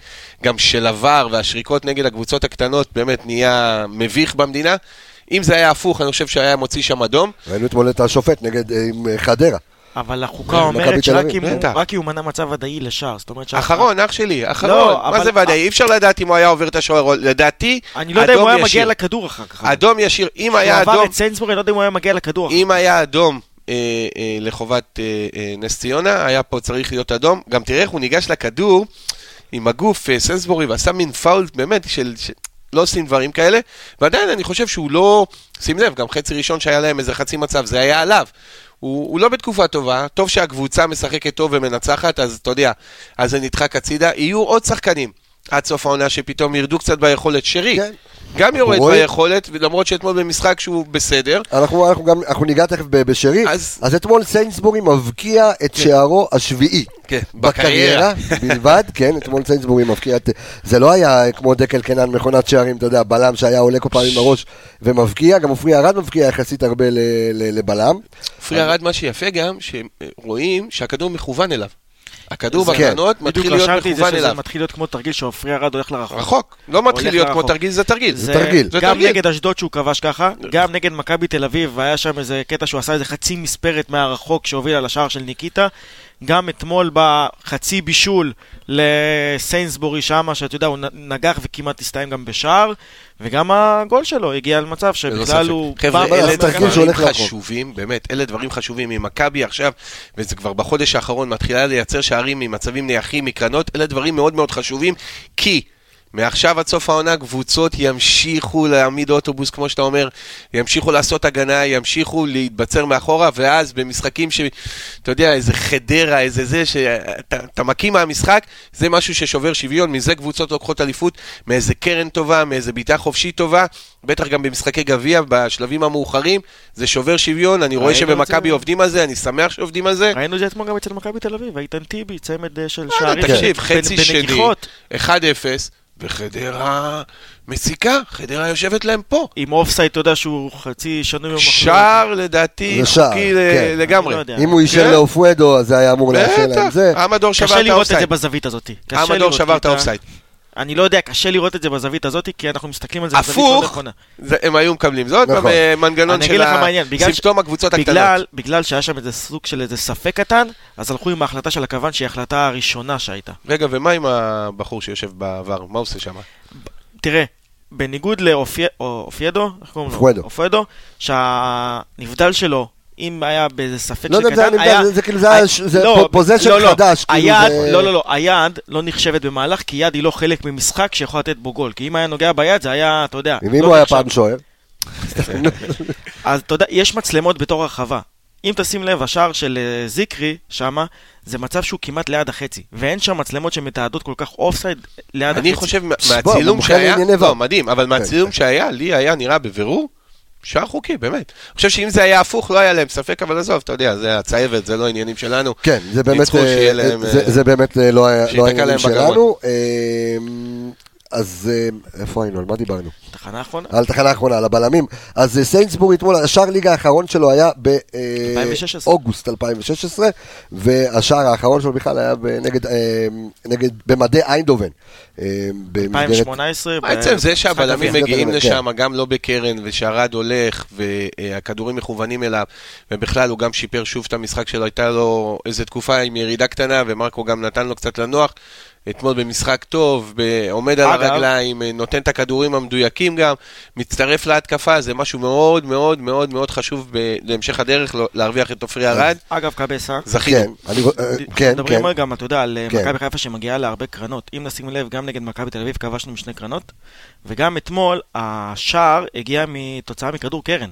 גם של עבר והשריקות נגד הקבוצות הקטנות באמת נהיה מביך במדינה. אם זה היה הפוך, אני חושב שהיה מוציא שם אדום. ראינו אתמול את השופט נגד אה, עם, אה, חדרה. אבל החוקה מכבי אומרת תל שרק אביב, אם הוא- בטח. רק אם הוא מנע מצב ודאי לשער, זאת אומרת שה- אחרון, אח שלי, אחרון. מה לא, אבל- זה ודאי? אי אפשר לדעת אם הוא היה עובר את השוער, או- לדעתי, אני לא יודע אם הוא אדום היה מגיע ישיר. לכדור אחר כך. אדום ישיר, אם היה הוא עבר אדום, את סיינסבורי, אני לא יודע אם הוא היה מגיע לכדור אחר אם היה אדום אה, אה, לחובת אה, אה, נס ציונה, היה פה צריך להיות אדום. גם תראה איך הוא ניגש לכדור עם הגוף, אה, סנסבורי, ועשה מין פאול באמת של... ש... לא עושים דברים כאלה, ועדיין אני חושב שהוא לא... שים לב, גם חצי ראשון שהיה להם איזה חצי מצב, זה היה עליו. הוא, הוא לא בתקופה טובה, טוב שהקבוצה משחקת טוב ומנצחת, אז אתה יודע, אז זה נדחק הצידה. יהיו עוד שחקנים עד סוף העונה שפתאום ירדו קצת ביכולת. שרי, כן. גם יורד רואים. ביכולת, למרות שאתמול במשחק שהוא בסדר, אנחנו אנחנו גם, אנחנו ניגע תכף ב- בשרי. אז- אז אתמול סיינסבורי מבקיע את שערו השביעי. כן, בקריירה בלבד, כן, אתמול סיינסבורי מבקיע את... זה לא היה כמו דקל קנן מכונת שערים, אתה יודע, בלם שהיה עולה כל פעם עם הראש ומבקיע, גם עופרי ארד מבקיע יחסית הרבה ל- ל- לבלם. עופרי ארד, מה שיפה גם, שרואים שהכדור מכוון אליו. הכדור זה- כן. בקרנות מתחיל להיות רשמתי את זה מכוון שזה אליו. מתחיל להיות כמו תרגיל שעופרי ארד הולך לרחוק. רחוק, לא מתחיל הולך להיות כמו לרחוק. תרגיל, זה תרגיל. זה- תרגיל. זה גם תרגיל. נגד אשדוד שהוא כבש ככה, גם נגד מכבי תל אביב, והיה שם איזה קטע שהוא עשה איזה חצי מספרת מהרחוק שהובילה לשער של ניקיטה, גם אתמול בחצי בישול לסיינסבורי שמה, שאתה יודע, הוא נ- נגח וכמעט הסתיים גם בשער, וגם הגול שלו הגיע למצב ללא שבכלל ספק. הוא... חבר'ה, בא- אלה זה תרגיל דברים שהולך לרחוב. חשובים, באמת, אלה דברים חשובים. אם מכבי עכשיו, וזה כבר בחודש האחרון, מתחילה לייצר שערים ממצבים נייחים, מקרנות, אלה דברים מאוד מאוד חשובים, כי... מעכשיו עד סוף העונה קבוצות ימשיכו להעמיד אוטובוס, כמו שאתה אומר, ימשיכו לעשות הגנה, ימשיכו להתבצר מאחורה, ואז במשחקים ש... אתה יודע, איזה חדרה, איזה זה, שאתה אתה מקיא מהמשחק, זה משהו ששובר שוויון, מזה קבוצות לוקחות אליפות, מאיזה קרן טובה, מאיזה בעיטה חופשית טובה, בטח גם במשחקי גביע, בשלבים המאוחרים, זה שובר שוויון, אני רואה ראינו את שבמכבי זה. עובדים על זה, אני שמח שעובדים על זה. ראינו את זה אתמול גם אצל מכבי תל אביב, איתן טיבי, צמד אה, של לא, שערים. תקשיב, בנ- חצי שני, בנגיחות. 1-0, וחדרה מסיקה, חדרה יושבת להם פה. עם אופסייד, אתה יודע שהוא חצי שנוי במחלוקת. שער לדעתי זה שער, חוקי ל- כן. לגמרי. לא אני לא יודע. אם הוא כן. אישר לאופואדו, אז זה היה אמור לאשר להם בטח, אה, זה. המדור קשה שבר את לראות את זה האופסייד. בזווית הזאת. קשה המדור לראות, שבר את כי אתה- האופסייד. אני לא יודע, קשה לראות את זה בזווית הזאת, כי אנחנו מסתכלים על זה בזווית לא הפוך, נכונה. זה- הם היו מקבלים. זה עוד פעם נכון. אה, מנגנון אני אגיד של לך ה- מה העניין, בגלל ש- סימפטום הקבוצות בגלל, הקטנות. בגלל שהיה שם איזה סוג של איזה ספק קטן, אז הלכו עם ההחלטה של הכוון שהיא ההחלטה הראשונה שהייתה. רגע, ומה עם הבחור שיושב בעבר? מה הוא עושה שם? תראה, בניגוד לאופיידו, איך קוראים לו? אופואדו. אופואדו, שהנבדל שלו, אם היה באיזה ספק לא יודע אם זה היה שקטן, נבדל, היה... זה- זה כאילו זה היה ש- זה לא, פוזיישן לא, לא. חדש, כאילו היד, זה- לא, לא, לא, היד לא נחשבת במהלך, כי יד היא לא חלק ממשחק שיכול לתת בו גול. כי אם היה נוגע ביד, זה היה, אתה יודע... ואם לא הוא היה נחשב. פעם שוער, אז אתה יודע, יש מצלמות בתור הרחבה. אם תשים לב, השער של אה, זיקרי שמה, זה מצב שהוא כמעט ליד החצי. ואין שם מצלמות שמתעדות כל כך אופסייד ליד החצי. אני חושב מה- בוא, כן, מהצילום מומחה שהיה, לענייני לא, ור. מדהים, אבל מהצילום שהיה, לי היה נראה בבירור שער חוקי, באמת. אני חושב שאם זה היה הפוך, לא היה להם ספק, אבל עזוב, אתה יודע, זה הצייבת, זה לא עניינים שלנו. כן, זה באמת, ניצחו, שיהיה אה, להם, זה- אה, זה באמת אה, לא היה- שייתקע לא להם העניינים בגרון. שלנו. אמ, אז אה, איפה היינו? על מה דיברנו? תחנה אחרונה? על התחנה האחרונה, על הבלמים. אז אה, סיינסבורי אתמול, השער ליגה האחרון שלו היה אה, 2016. באוגוסט 2016, והשער האחרון שלו בכלל היה נגד, אה, נגד, במדי איינדובן. אה, במסגרת- אה, 2018. מה עצם זה שהבלמים הגביע. מגיעים כן. לשם, גם לא בקרן, ושערד הולך, והכדורים מכוונים אליו, ובכלל הוא גם שיפר שוב את המשחק שלו, הייתה לו איזו תקופה עם ירידה קטנה, ומרקו גם נתן לו קצת לנוח. אתמול במשחק טוב, ב- עומד על אגב- הרגליים, נותן את הכדורים המדויקים גם, מצטרף להתקפה, זה משהו מאוד מאוד מאוד מאוד חשוב ב- להמשך הדרך לא- להרוויח את עופרי ארד. אגב, קבסה. כן, זכינו. אני, אה, כן, כן. מדברים על- גם, אתה יודע, על אה, כן. מכבי חיפה שמגיעה להרבה קרנות. אם נשים לב, גם נגד מכבי תל אביב כבשנו משני קרנות, וגם אתמול השער הגיע מתוצאה מכדור קרן.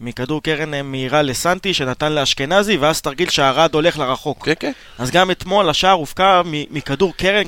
מכדור קרן אה, מהירה לסנטי, שנתן לאשכנזי, ואז תרגיל שהרד הולך לרחוק. כן, אוקיי. כן. אז גם אתמול השער הופקע מ- מכדור קרן,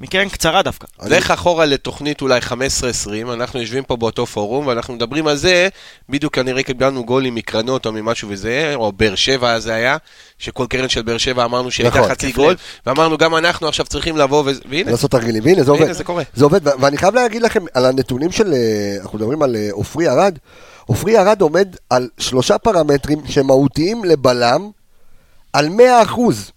מקרן קצרה דווקא. אני- לך אחורה לתוכנית אולי 15-20, אנחנו יושבים פה באותו פורום ואנחנו מדברים על זה, בדיוק כנראה קיבלנו גולים מקרנות או ממשהו וזה, או באר שבע זה היה, שכל קרן של באר שבע אמרנו שהייתה נכון, חצי כיף גול, לב. ואמרנו גם אנחנו עכשיו צריכים לבוא, וזה- והנה, לעשות תרגילים, והנה זה עובד. הנה, זה קורה. זה עובד, ו- ואני חייב להגיד לכם על הנתונים של, אה, אנחנו מדברים על אה, עופרי ארד, עופרי ארד עומד על שלושה פרמטרים שמהותיים לבלם על 100 אחוז.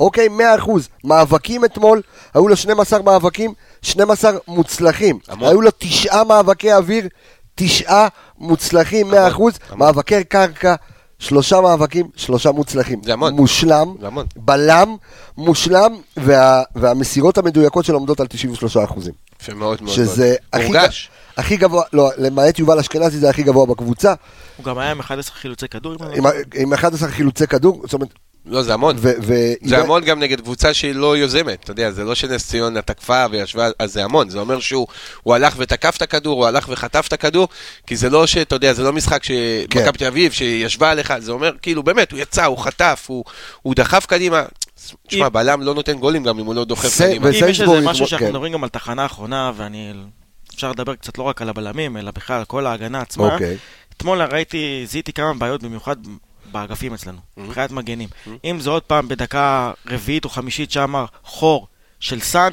אוקיי, 100 אחוז. מאבקים אתמול, היו לו 12 מאבקים, 12 מוצלחים. המון. היו לו תשעה מאבקי אוויר, תשעה מוצלחים, 100 אחוז. מאבקי קרקע, שלושה מאבקים, שלושה מוצלחים. זה המון. מושלם. זה המון. בלם מושלם, וה, והמסירות המדויקות שלו עומדות על 93 אחוזים. יפה מאוד מאוד. שזה מאוד. הכי, לא, מורגש. ג- הכי גבוה, לא, למעט יובל אשכנזי זה הכי גבוה בקבוצה, הוא גם היה עם 11 חילוצי כדור. אם אני לא עם, טועה. עם 11 חילוצי כדור, זאת אומרת, לא, זה המון. ו... ו זה המון גם נגד קבוצה שהיא לא יוזמת, אתה יודע, זה לא שנס ציונה תקפה וישבה, אז זה המון, זה אומר שהוא הוא הלך ותקף את הכדור, הוא הלך וחטף את הכדור, כי זה לא שאתה יודע, זה לא משחק כן. שמכבי תל אביב שישבה עליך, זה אומר, כאילו, באמת, הוא יצא, הוא חטף, הוא, הוא דחף קדימה. תשמע, אם- בלם לא נותן גולים גם אם הוא לא דוחף זה- וזה- קדימה. אם יש איזה וסיינסבורי משהו אתמול- שאנחנו כן. מדברים גם על תחנה אחרונה, ואני... אפשר לדבר קצת לא רק על הבלמים, אלא בכלל על כל ההגנה עצמה. אוקיי. אתמול ראיתי, זיהיתי כמה בעיות, במיוחד באגפים אצלנו, Mm-hmm. מבחינת מגנים. אם זה עוד פעם בדקה רביעית או חמישית שם חור של סאן,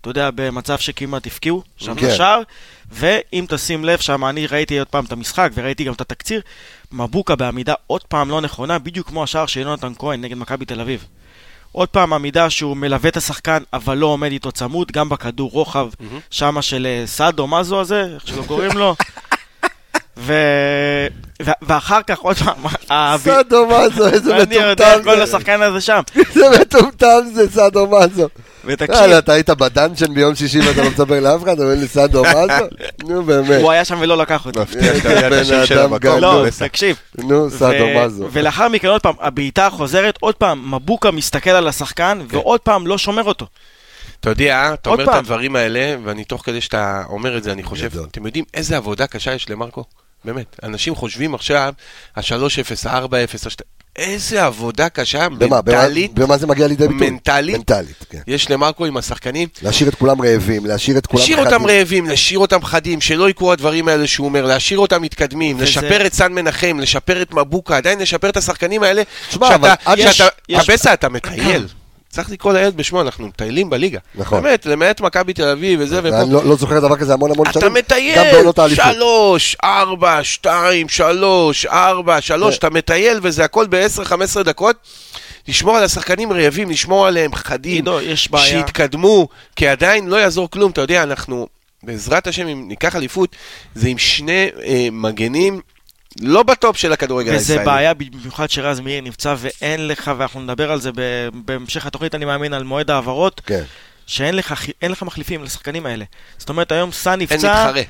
אתה יודע, במצב שכמעט הפקיעו, שם כן. לשער, ואם תשים לב, שם אני ראיתי עוד פעם את המשחק וראיתי גם את התקציר, מבוקה בעמידה עוד פעם לא נכונה, בדיוק כמו השער של יונתן כהן נגד מכבי תל אביב. עוד פעם עמידה שהוא מלווה את השחקן, אבל לא עומד איתו צמוד, גם בכדור רוחב, <laughs> שמה של אה, סאדו, מה זו הזה, איך שלא קוראים לו. ו... ו- ואחר כך עוד פעם, האבי- סאדו מזו, איזה אני יודע, כל מטומטם זה. השחקן הזה שם. <laughs> איזה מטומטם זה, סאדו מזו. ותקשיב, יאללה, אתה היית בדנצ'ן ביום שישי ואתה לא מספר לאף אחד, אבל לי <laughs> סאדו מזו? נו באמת. הוא היה שם ולא לקח אותו. מפתיע <laughs> שאתה יודע את השם של בן אדם המקום. גדול. לא, בסדר. תקשיב. נו, סאדו ו- מזו. ולאחר מכן עוד פעם, הבעיטה חוזרת, עוד פעם, מבוקה מסתכל על השחקן, כן. ועוד פעם לא שומר אותו. אתה יודע, אתה עוד אומר את פעם. הדברים האלה, ואני תוך כדי שאתה אומר את זה, אני חושב, גדול. אתם יודעים איזה עבודה קשה יש למרקו? באמת. אנשים חושבים עכשיו, ה-3-0, ה-4-0, ה-2... איזה עבודה קשה, במה, במה- מנטלית, במה זה מגיע לידי ביטוי? מנטלית? מנטלית, כן. יש למרקו עם השחקנים. להשאיר את כולם רעבים, להשאיר את כולם להשאיר אותם רעבים, להשאיר אותם חדים, שלא יקרו הדברים האלה שהוא אומר, להשאיר אותם מתקדמים, וזה- לשפר את סן מנחם, לשפר את מבוקה, עדיין לשפר את השחקנים האלה. תשמע, שאתה- אבל עד שאתה- יש- יש- הבסה, אתה מטייל. צריך לקרוא לילד בשמו, אנחנו מטיילים בליגה. נכון. באמת, למעט מכבי תל אביב וזה ופה. אני לא לא זוכר דבר כזה המון המון אתה שנים. מטייל, גם בעונות האליפות. שלוש, ארבע, שתיים, שלוש, ארבע, כן. שלוש, אתה מטייל וזה הכל ב-10-15 דקות. לשמור על השחקנים רעבים, לשמור עליהם חדים, עידו, יש בעיה. שיתקדמו, כי עדיין לא יעזור כלום, אתה יודע, אנחנו, בעזרת השם, אם ניקח אליפות, זה עם שני אה, מגנים לא בטופ של הכדורגל הישראלי. וזה בעיה במיוחד שרז מאיר נפצע ואין לך, ואנחנו נדבר על זה ב- בהמשך התוכנית, אני מאמין, על מועד ההעברות, כן. שאין לך חי- אין לך מחליפים לשחקנים האלה. זאת אומרת, היום סאן אין נפצע, מתחרה.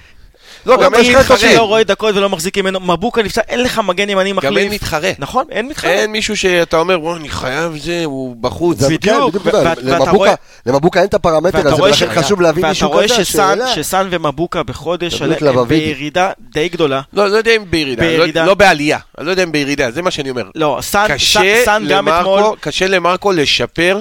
לא, גם אין יש לך שלא מתחרה. רואה דקות ולא מחזיק ממנו, מבוקה נפצע, אין לך מגן ימני מחליף. אין מתחרה. נכון, אין מתחרה. אין מישהו שאתה אומר, וואי, אני חייב זה, הוא בחוץ. זה- כן, בדיוק, בדיוק, ו- אבל ואת- ואתה למבוקה- רואה- למבוקה אין את הפרמטר ואתה הזה, רואה ולכן ש- חשוב להביא מישהו ואתה רואה כזה, שסאן, שאלה. שסאן ומבוקה בחודש דמות עלה- הם לבבית. בירידה די גדולה. לא, לא יודע אם בירידה, בירידה. בירידה. לא, לא בעלייה, אני לא יודע אם בירידה, זה מה שאני אומר. לא, סאן, סאן- קשה, סאן גם למרקו, אתמול, קשה למרקו לשפר,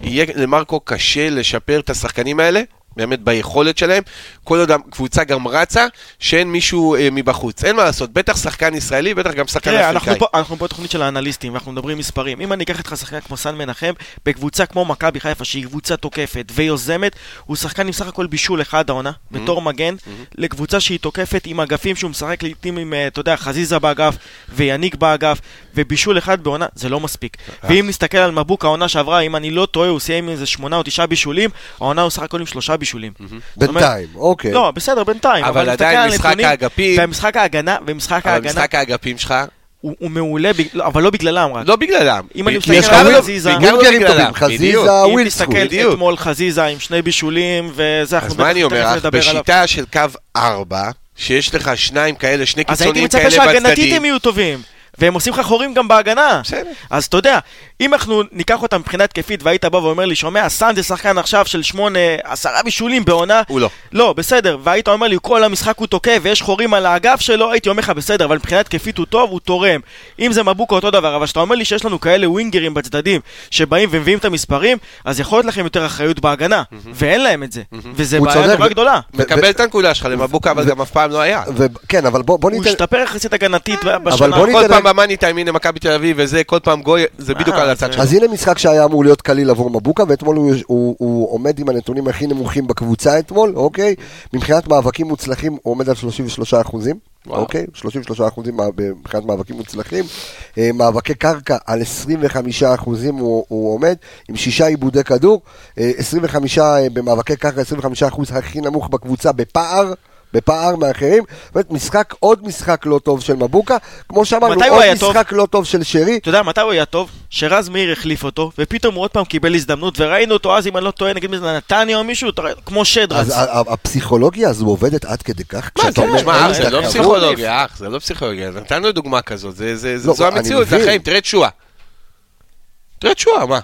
יהיה למרקו קשה לשפר את השחקנים האלה, באמת ביכולת שלהם, כל עוד הקבוצה גם רצה, שאין מישהו אה, מבחוץ. אין מה לעשות, בטח שחקן ישראלי, בטח גם שחקן תראה, אפריקאי. אנחנו פה, אנחנו פה תוכנית של האנליסטים, ואנחנו מדברים מספרים. אם אני אקח איתך שחקן כמו סן מנחם, בקבוצה כמו מכבי חיפה, שהיא קבוצה תוקפת ויוזמת, הוא שחקן עם סך הכל בישול אחד העונה, Mm-hmm. בתור מגן, לקבוצה שהיא תוקפת עם אגפים שהוא משחק לעיתים עם, אה, אתה יודע, חזיזה באגף, ויניק באגף, ובישול אחד בעונה, זה לא מספיק. אה. ואם נסתכל על מבוק העונה שעברה, אם אני לא טועה, הוא סיים עם איזה שמונה או תשעה בישולים, העונה הוא סך הכל עם שלושה בישולים. זאת אומרת- בינתיים, אוקיי. לא, בסדר, בינתיים. Mm-hmm. כן. אבל אני מסתכל עדיין על משחק הנתונים, האגפים- ומשחק ההגנה, ומשחק אבל ההגנה, משחק האגפים שלך, הוא הוא מעולה, בג- לא, אבל לא בגללם רק. לא בגללם. אם אני ב- מסתכל בעיקר על לא- חזיזה- בעיקר לא בולגרים בגללם, טובים, חזיזה, בדיוק. אם ווילסקוט. תסתכל בדיוק. אתמול חזיזה עם שני בישולים, וזה אנחנו אז מה אני אומר לך, נדבר עליו. בשיטה של קו 4, שיש לך שניים כאלה, שני אז הייתי קיצוניים מצפה כאלה שהגנתית בצדדים, הם יהיו טובים. והם עושים לך חורים גם בהגנה. בסדר. אז אתה יודע, אם אנחנו ניקח אותם מבחינה התקפית והיית בא ואומר לי, שומע, סאן זה שחקן עכשיו של שמונה, עשרה בישולים בעונה. הוא לא. לא, בסדר. והיית אומר לי, כל המשחק הוא תוקף ויש חורים על האגף שלו, הייתי אומר לך, בסדר, אבל מבחינה התקפית הוא טוב, הוא תורם. אם זה מבוקו אותו דבר, אבל כשאתה אומר לי שיש לנו כאלה ווינגרים בצדדים, שבאים ומביאים את המספרים, אז יכול להיות לכם יותר אחריות בהגנה. ואין להם את זה. וזה הוא בעיה צודק, נורא ו- גדולה. מקבל את הנקודה שלך למבוקה, אבל גם אף פעם לא היה. ו- כן, אבל בוא בוא הוא ניתן... אה. השתפר יחסית הגנתית אבל בשנה בוא כל ניתן- פעם במאני טיים, הנה מכבי תל אביב וזה, כל פעם גוי, זה בדיוק אה, על זה- הצד שלו. אז הנה משחק שהיה אמור להיות קליל עבור מבוקה, ואתמול הוא, הוא, הוא עומד עם הנתונים הכי נמוכים בקבוצה אתמול, אוקיי? מבחינת מאבקים מוצלחים הוא עומד על 33 אחוזים, וואו. אוקיי? 33 אחוזים מה- מבחינת מאבקים מוצלחים. אה, מאבקי קרקע על 25 אחוזים הוא, הוא עומד, עם שישה עיבודי כדור, אה, 25 אה, במאבקי קרקע, 25 אחוז הכי נמוך בקבוצה בפער. בפער מאחרים, באמת משחק, עוד משחק לא טוב של מבוקה, כמו שאמרנו, מתי הוא עוד היה טוב? משחק לא טוב של שרי, אתה יודע מתי הוא היה טוב? שרז מאיר החליף אותו, ופתאום הוא עוד פעם קיבל הזדמנות, וראינו אותו אז, אם אני לא טועה, נגיד מזה נתניה או מישהו, אתה רואה, כמו שד רץ. אז ה- ה- הפסיכולוגיה הזו עובדת עד כדי כך? כשאתה אומר, אה, תשמע, אין אח, את זה לא הכבוד? פסיכולוגיה, אח, זה לא פסיכולוגיה. נתנו דוגמה כזאת, זה- זה- זה- לא, זו אני המציאות, זה מבין. החיים, תראה את שואה. תראה את שואה, מה?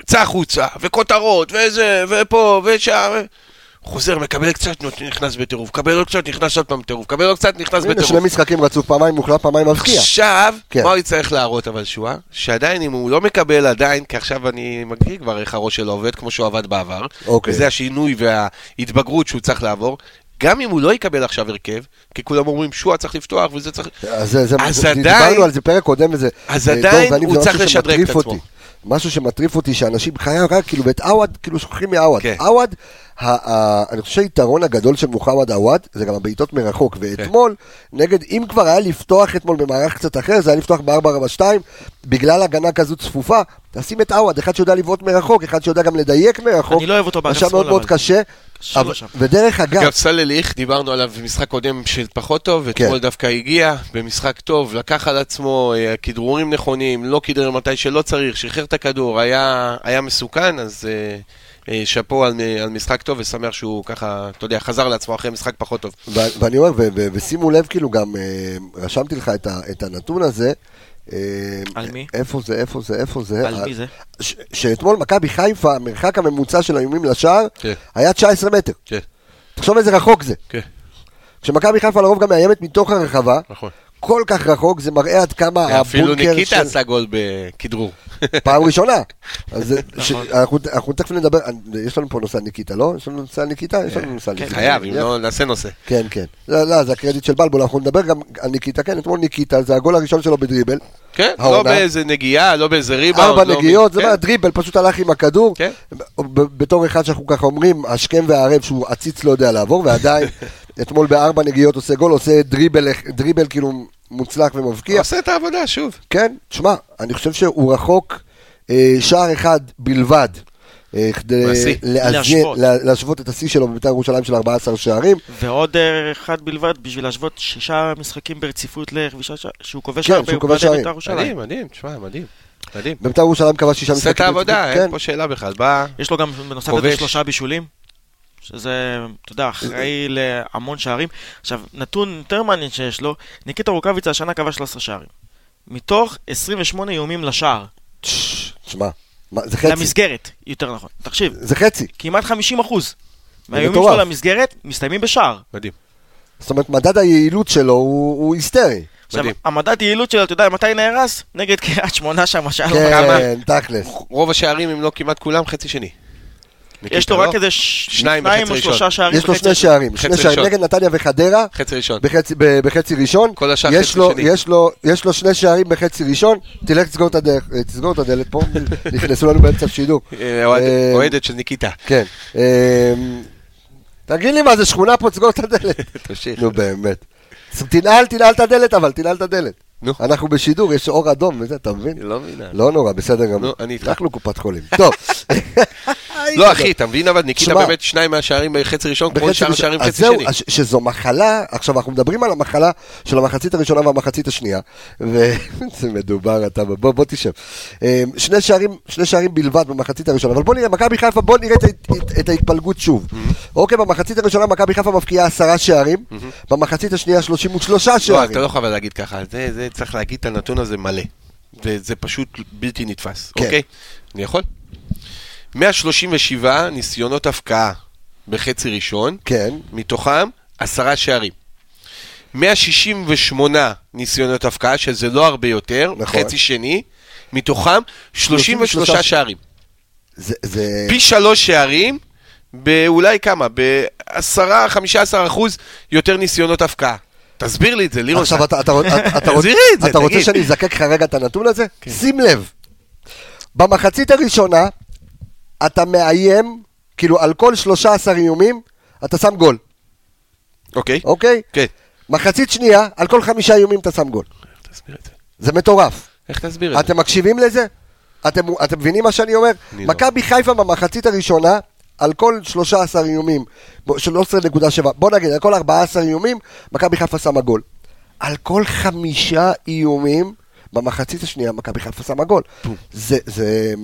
יצא החוצה, וכותרות, וזה, ופה, ושם. חוזר, מקבל קצת, נות- נכנס בטירוף, מקבל עוד קצת, נכנס עוד פעם בטירוף, מקבל עוד קצת, נכנס הנה, שני בטירוף. משחקים רצו פעמיים מוחלט, פעמיים מבקיע. עכשיו, כן. מה הוא יצטרך להראות אבל שואה? שעדיין אם הוא לא מקבל עדיין, כי עכשיו אני מגדיר כבר איך הראש שלו עובד, כמו שהוא עבד בעבר, אוקיי. וזה השינוי וההתבגרות שהוא צריך לעבור, גם אם הוא לא יקבל עכשיו הרכב, כי כולם אומרים שואה צריך לפתוח וזה צריך... אז זה, זה, אז זה- עדיין- דיברנו על זה פרק קודם, וזה, אז אה, עדיין דוב ואני, הוא זה משהו צריך לשדרג שמטריף את עצמו. אותי. משהו שמטריף אותי, שאנשים חיים רק, כאילו, ואת עווד, כאילו שוכחים מעווד. כן. עווד, ה- ה- אני חושב שהיתרון הגדול של מוחמד עוואד זה גם הבעיטות מרחוק, ואתמול, נגד, אם כבר היה לפתוח אתמול במערך קצת אחר, זה היה לפתוח ב-442, בגלל הגנה כזו צפופה, תשים את עוואד, אחד שיודע לבעוט מרחוק, אחד שיודע גם לדייק מרחוק, אני לא אוהב אותו באגף עכשיו מאוד שמאל, מאוד אבל. קשה, קשה לו אבל- שם. ודרך אגב, אגב, סלל איך, דיברנו עליו במשחק קודם של פחות טוב, אתמול כן. דווקא הגיע, במשחק טוב, לקח על עצמו אה, כדרורים נכונים, לא כדרר מתי שלא צריך, שחרר את הכדור, היה, היה מסוכן, אז אה, אה, שאפו על, על משחק טוב, ושמח שהוא ככה, אתה יודע, חזר לעצמו אחרי משחק פחות טוב. ו- ואני אומר, ו- ו- ושימו לב, כאילו גם אה, רשמתי לך את, ה- את הנתון הזה. אה, על מי? איפה זה, איפה זה, איפה זה? אה, על מי זה? ש- שאתמול מכבי חיפה, המרחק הממוצע של האיומים לשער, כן. היה 19 מטר. כן, תחשוב איזה רחוק זה. כן, כשמכבי חיפה לרוב גם מאיימת מתוך הרחבה, נכון. כל כך רחוק, זה מראה עד כמה הבונקר של... כן, אפילו ניקיטה עשה גול בכדרור. <laughs> פעם ראשונה. אז זה- נכון. ש- אנחנו- אנחנו תכף נדבר, אה, יש לנו פה נושא על ניקיטה, לא? יש לנו נושא על ניקיטה? יש לנו נושא על כן, ניקיטה. חייב, אם לא, נעשה נושא. כן, כן. לא, לא, זה הקרדיט של בלבול, אנחנו נדבר גם על ניקיטה, כן, אתמול ניקיטה, זה הגול הראשון שלו בדריבל. כן, העונה. לא באיזה נגיעה, לא באיזה ריבאונד. ארבע לא מ- נגיעות, זה כן. מה, דריבל, פשוט הלך עם הכדור. כן. ב- ב- בתור אחד שאנחנו ככה אומרים, השכם והערב שהוא עציץ לא יודע לעבור, <laughs> ועדיין, אתמול בארבע נגיעות עושה גול, עושה דריבל, דריבל כאילו מוצלח ומבקיע. עושה את העבודה, שוב. כן, תשמע, אני חושב שהוא רחוק אה, שער אחד בלבד. אה, מהשיא. כדי לאזן, להשוות. לה- להשוות את השיא שלו בבית"ר ירושלים של 14 שערים. ועוד אה, אחד בלבד בשביל להשוות שישה משחקים ברציפות לרכבישה ש- שהוא כובש כן, הרבה, שהוא הוא כובש בעד שערים. בית"ר ירושלים. מדהים, מדהים, תשמע, מדהים. מדהים. בבית"ר ירושלים כבש שישה עושה את העבודה, כן. אין פה שאלה בכלל. בא... יש לו גם בנוסף כובש. לזה שלושה בישולים, שזה, אתה יודע, אחראי להמון שערים. עכשיו, נתון יותר מעניין שיש לו, ניקיטה רוקאביצה השנה כבש 13 שערים. מתוך 28 איומים לשער, תשמע, מה, זה חצי. למסגרת, יותר נכון. תקשיב, זה חצי. כמעט 50 אחוז מהאיומים מטורף. שלו למסגרת מסתיימים בשער. מדהים. זאת אומרת, מדד היעילות שלו הוא הוא היסטרי. עכשיו, מדהים. המדד יעילות שלו, אתה יודע, מתי נהרס? נגד קריית שמונה שם, השער לא כמה. כן, תכלס. רוב השערים, אם לא כמעט כולם, חצי שני. יש ניקיטה, לו רק לא? איזה ש- שניים שניים בחצי או שלושה ראשון. שערים. יש לו וחצי. שני שערים. חצי שני שערים ראשון. נגד נתניה וחדרה. חצי ראשון. בחצי, ב- בחצי ראשון, כל השאר יש, חצי לו, שני. יש, לו, יש לו שני שערים בחצי ראשון, תלך תסגור את הדלת, תסגור את הדלת פה, <laughs> נכנסו לנו באמצע השידור. אה, אוהד- אה, אוהדת של ניקיטה. כן. אמ, תגיד לי מה זה שכונה פה, תסגור את הדלת. <laughs> תמשיך. נו באמת. אז תנעל, תנעל את הדלת, אבל תנעל את הדלת. נו. אנחנו בשידור, יש אור אדום וזה, אתה מבין? לא מבינה. לא נורא, בסדר גמור. נו, אני איתך. אנחנו קופת חולים. <laughs> טוב. <laughs> לא, אחי, אתה מבין אבל? ניקיטה שמע. באמת שניים מהשערים בחצי ראשון, כמו בחצי שאר ראשון. השערים אז חצי זהו, שני. אז ש- שזו מחלה, עכשיו אנחנו מדברים על המחלה של המחצית הראשונה והמחצית השנייה, <laughs> וזה מדובר, אתה, בוא, בוא תשב. אה, שני שערים, שני שערים בלבד במחצית הראשונה, אבל בוא נראה, מכבי חיפה, בוא נראה את, ההת- את, את ההתפלגות שוב. Mm-hmm. אוקיי, במחצית הראשונה מכבי חיפה מבקיעה עשרה שערים, במחצית השנייה 33 Mm-hmm. לא, אתה שערים. לא חייב להגיד ככה, זה, זה צריך להגיד את הנתון הזה מלא. זה, זה פשוט בלתי נתפס, כן. אוקיי? אני יכול? 137 ניסיונות הפקעה בחצי ראשון, כן, מתוכם עשרה שערים. 168 ניסיונות הפקעה, שזה לא הרבה יותר, נכון. נכון. חצי שני, מתוכם 33 33 שערים. זה, זה, פי שלוש שערים, באולי כמה? ב-10-15 אחוז יותר ניסיונות הפקעה. תסביר לי את זה, לירון. עכשיו אתה, אתה, אתה, <laughs> אתה, רוצה, תסבירי את זה, אתה רוצה תגיד. כן. שאני אזקק לך רגע את הנתון הזה? שים לב, במחצית הראשונה אתה מאיים, כאילו על כל 13 איומים אתה שם גול, אוקיי. אוקיי? כן. מחצית שנייה, על כל חמישה איומים אתה שם גול. איך תסביר את זה? זה מטורף. איך תסביר את זה? אתם מקשיבים לזה? אתם, אתם מבינים מה שאני אומר? אני לא. מכבי חיפה במחצית הראשונה, על כל 13 איומים, בוא, 13.7, בוא נגיד, על כל 14 איומים, מכבי חיפה שמה גול. על כל חמישה איומים, במחצית השנייה מכבי חיפה שמה גול. זה, זה,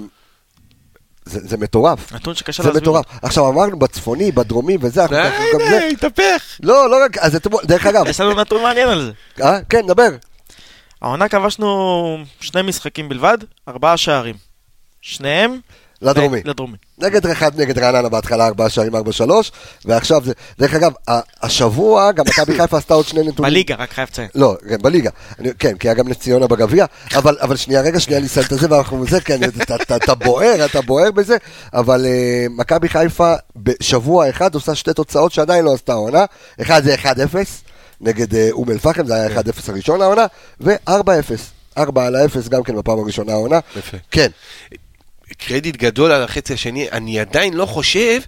זה, זה מטורף. נתון שקשה זה להסביר. מטורף. עכשיו אמרנו בצפוני, בדרומי וזה, אנחנו די, אנחנו גם זה. די, התהפך. לא, לא רק, אז אתמול, דרך <laughs> אגב, יש לנו נתון מעניין על זה. אה? כן, דבר. העונה כבשנו שני משחקים בלבד, ארבעה שערים. שניהם לדרומי. לדרומי. נגד אחד נגד רעננה בהתחלה ארבעה שערים ארבע שלוש ועכשיו זה דרך אגב ה- השבוע גם מכבי חיפה עשתה עוד שני נתונים. בליגה, רק חייב לציין. לא, כן, בליגה. אני, כן, כי היה גם נס ציונה בגביע, אבל, אבל שנייה, רגע, שנייה, אני אסיים את זה, ואנחנו זה, כן, אתה, אתה, אתה בוער, אתה בוער בזה, אבל uh, מכבי חיפה בשבוע אחד עושה שתי תוצאות שעדיין לא עשתה העונה, אחד זה 1-0 נגד אה, אום אל-פחם, זה היה כן. 1-0 הראשון העונה, ו-4-0, 4 על ה-0 גם כן בפעם הראשונה העונה. יפה. כן, קרדיט גדול על החצי השני, אני עדיין לא חושב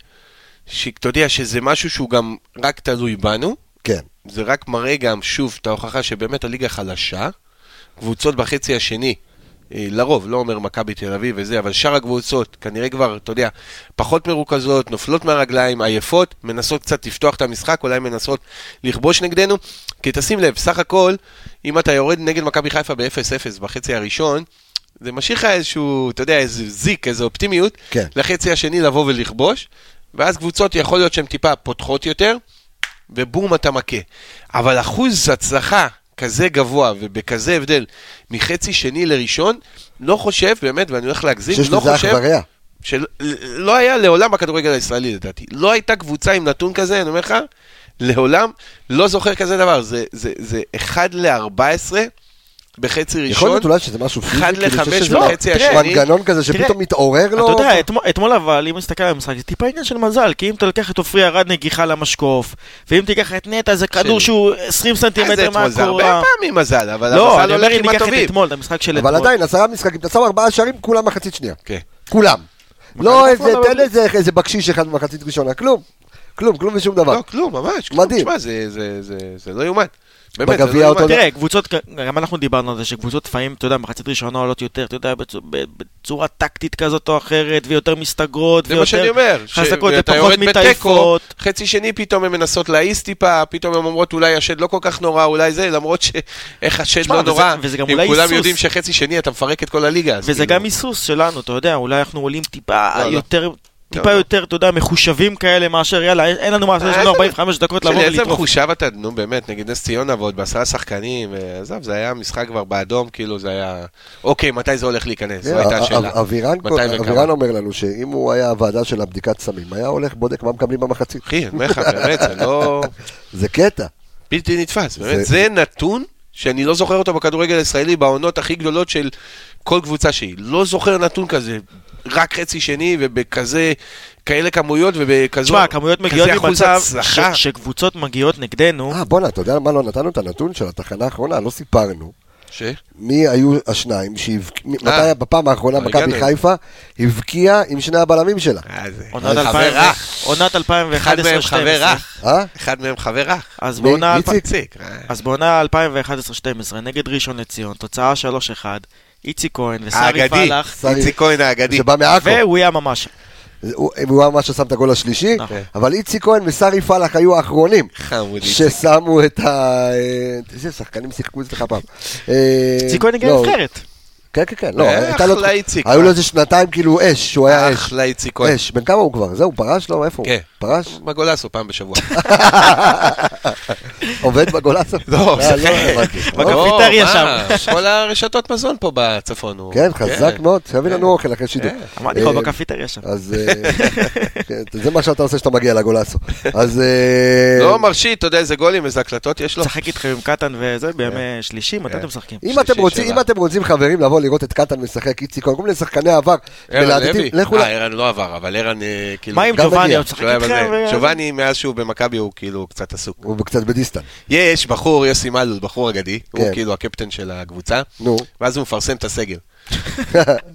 שאתה יודע שזה משהו שהוא גם רק תלוי בנו, כן. זה רק מראה גם, שוב, את ההוכחה שבאמת הליגה חלשה. קבוצות בחצי השני, אה, לרוב, לא אומר מכבי תל אביב וזה, אבל שאר הקבוצות, כנראה כבר, אתה יודע, פחות מרוכזות, נופלות מהרגליים, עייפות, מנסות קצת לפתוח את המשחק, אולי מנסות לכבוש נגדנו. כי תשים לב, סך הכל, אם אתה יורד נגד מכבי חיפה ב-0-0 בחצי הראשון, זה משאיר לך איזשהו, אתה יודע, איזה זיק, איזו אופטימיות, כן. לחצי השני לבוא ולכבוש, ואז קבוצות יכול להיות שהן טיפה פותחות יותר, ובום אתה מכה. אבל אחוז הצלחה כזה גבוה ובכזה הבדל מחצי שני לראשון, לא חושב, באמת, ואני הולך להגזים, שיש לא לזה אח חושב, ורע. של- לא היה לעולם בכדורגל הישראלי לדעתי. לא הייתה קבוצה עם נתון כזה, אני אומר לך, לעולם לא זוכר כזה דבר. זה, זה, זה 1 ל-14 בחצי ראשון. יכול להיות אולי שזה משהו פיזי, אחד כאילו, לחמש שיש איזה וחצי מנגנון השני. מנגנון כזה תראה, שפתאום מתעורר אתה לא, לו. יודע, אתמול- אתמול אבל, אם נסתכל על המשחק, זה טיפה עניין של מזל, כי אם אתה לוקח את עופרי ארד נגיחה למשקוף, ואם תיקח את נטע, זה כדור שלי. שהוא 20 אז אה, זה סנטימטר אתמול, זה הרבה מהקורה. פעמים מזל, אבל לא, המזל אני הולך אומר, אם עם ניקח את הטובים. אתמול, את המשחק של אתמול. אבל עדיין, עשרה משחקים, אתה שם ארבעה שערים, כולם מחצית שנייה. כן. כולם. לא מכבי איזה, חיפה לא תן איזה איזה בקשיש אחד במחצית ראשונה, כלום. כלום, כלום ושום דבר. לא, כלום, ממש. כלום. מדהים. תשמע, זה- זה- זה- זה לא יאומן. באמת, זה לא בגביע יאומן. אותו תראה, קבוצות, גם אנחנו דיברנו על זה שקבוצות לפעמים, אתה יודע, מחצית ראשונה עולות יותר, אתה יודע, בצו- ב- בצורה טקטית כזאת או אחרת, ויותר מסתגרות, זה מה שאני ויותר אומר, חזקות, שאתה ופחות יורד בתיקו, מתעייפות. חצי שני פתאום הן מנסות להעיס טיפה, פתאום הן אומרות אולי השד לא כל כך נורא, אולי זה, למרות שאיך השד תשמע, לא וזה- נורא, וזה גם אם אולי כולם היסוס. יודעים שחצי שני אתה מפרק את כל הליגה. אז וזה כאילו- גם היסוס שלנו, אתה יודע, אולי אנחנו עולים טיפה לא, לא. יותר... טיפה לא. יותר, אתה יודע, מחושבים כאלה מאשר, יאללה, אין- אין לנו מה לעשות, יש לנו איזה- 45 דקות לבוא של איזה ולטרוף. מחושב אתה, נו באמת, נגד נס ציונה ועוד בעשרה שחקנים, אה, עזוב, זה היה משחק כבר באדום, כאילו זה היה, אוקיי, מתי זה הולך להיכנס? זו אה, הייתה אה, השאלה. אה, אבירן מתי כל- וכמה? אבירן אומר לנו שאם הוא היה הוועדה של הבדיקת סמים, היה הולך, בודק מה מקבלים במחצית. אחי, אני אומר לך, באמת, זה לא... זה קטע. בלתי נתפס, זה- באמת, זה נתון שאני לא זוכר אותו בכדורגל הישראלי בעונות הכי גדולות של כל קבוצה שהיא. לא זוכר נתון כזה, רק חצי שני ובכזה, כאלה כמויות ובכזו, תשמע, הכמויות מגיעות כזה אחוז ממצב ש- הצלחה. שקבוצות מגיעות נגדנו, אה, בואנה, אתה יודע מה לא נתנו את הנתון של התחנה האחרונה? לא סיפרנו. ש... מי היו השניים שהבקיעו, אה. מתי בפעם האחרונה לא מכבי הגענו. חיפה הבקיעה עם שני הבלמים שלה? אה, זה- עונת חבר 2011, אח, עונת אחד מהם חבר 2011-2012, אח, אה? אחד מהם חבר אח. אז מי? בעונה איציק? איציק, אה, אז בעונה 2011-2012, נגד ראשון לציון, תוצאה 3-1, איציק כהן וסרי האגדי, פלח, סרי. איציק כהן האגדי. שבא מעכו. והוא יהיה ממש. אה, הוא- הוא ממש ששם את הגול השלישי, נכון. אבל איציק כהן וסרי פלח היו האחרונים חמוד איציק. ששמו את ה... אה, איזה שחקנים שיחקו אצלך פעם. אה, איציק כהן הגיע לא, לנבחרת. כן, כן, כן. לא, אה, הייתה לו- אחלה איציק. היו לו איזה שנתיים כאילו אש, שהוא היה אש. אחלה איציק כהן. אש, בן כמה הוא כבר? זהו, פרש לו? איפה הוא? כן. פרש? בגולסו פעם בשבוע. עובד בגולסו? <laughs> לא, אה, זה- הבנתי. בקפיטריה לא, שם. מה, כל הרשתות מזון פה בצפון. הוא- כן, חזק מאוד, שיביא לנו אוכל אחרי שידור. כן. אמרתי אה, לך, בקפיטריה שם. אז אה, <laughs> כן, זה מה שאתה עושה כשאתה מגיע לגולסו. אז... אה, לא מרשי, אתה יודע איזה גולים, איזה הקלטות יש לו. משחק איתכם עם קטן וזה, בימי שלישי, מתי אתם משחקים? לא. אה, אם שלישי אתם, רוצים, שלה. אם אתם רוצים חברים לבוא לראות את קטן משחק איציק, כהן, כל מיני שחקני עבר, ערן מלהטטים, לוי. לכו ל... אה, ערן לא עבר, אבל ערן אה, כאילו... מה עם גם לא, ג'ובאני? מגיע. הוא משחק שהוא היה איתכם? אה, בזה. ו- ג'ובאני, מאז שהוא במכבי, הוא כאילו קצת עסוק. הוא קצת בדיסטן. יש בחור, יוסי מלול, בחור אגדי, הוא כן. כאילו הקפטן של הקבוצה, נו. ואז הוא מפרסם את הסגל.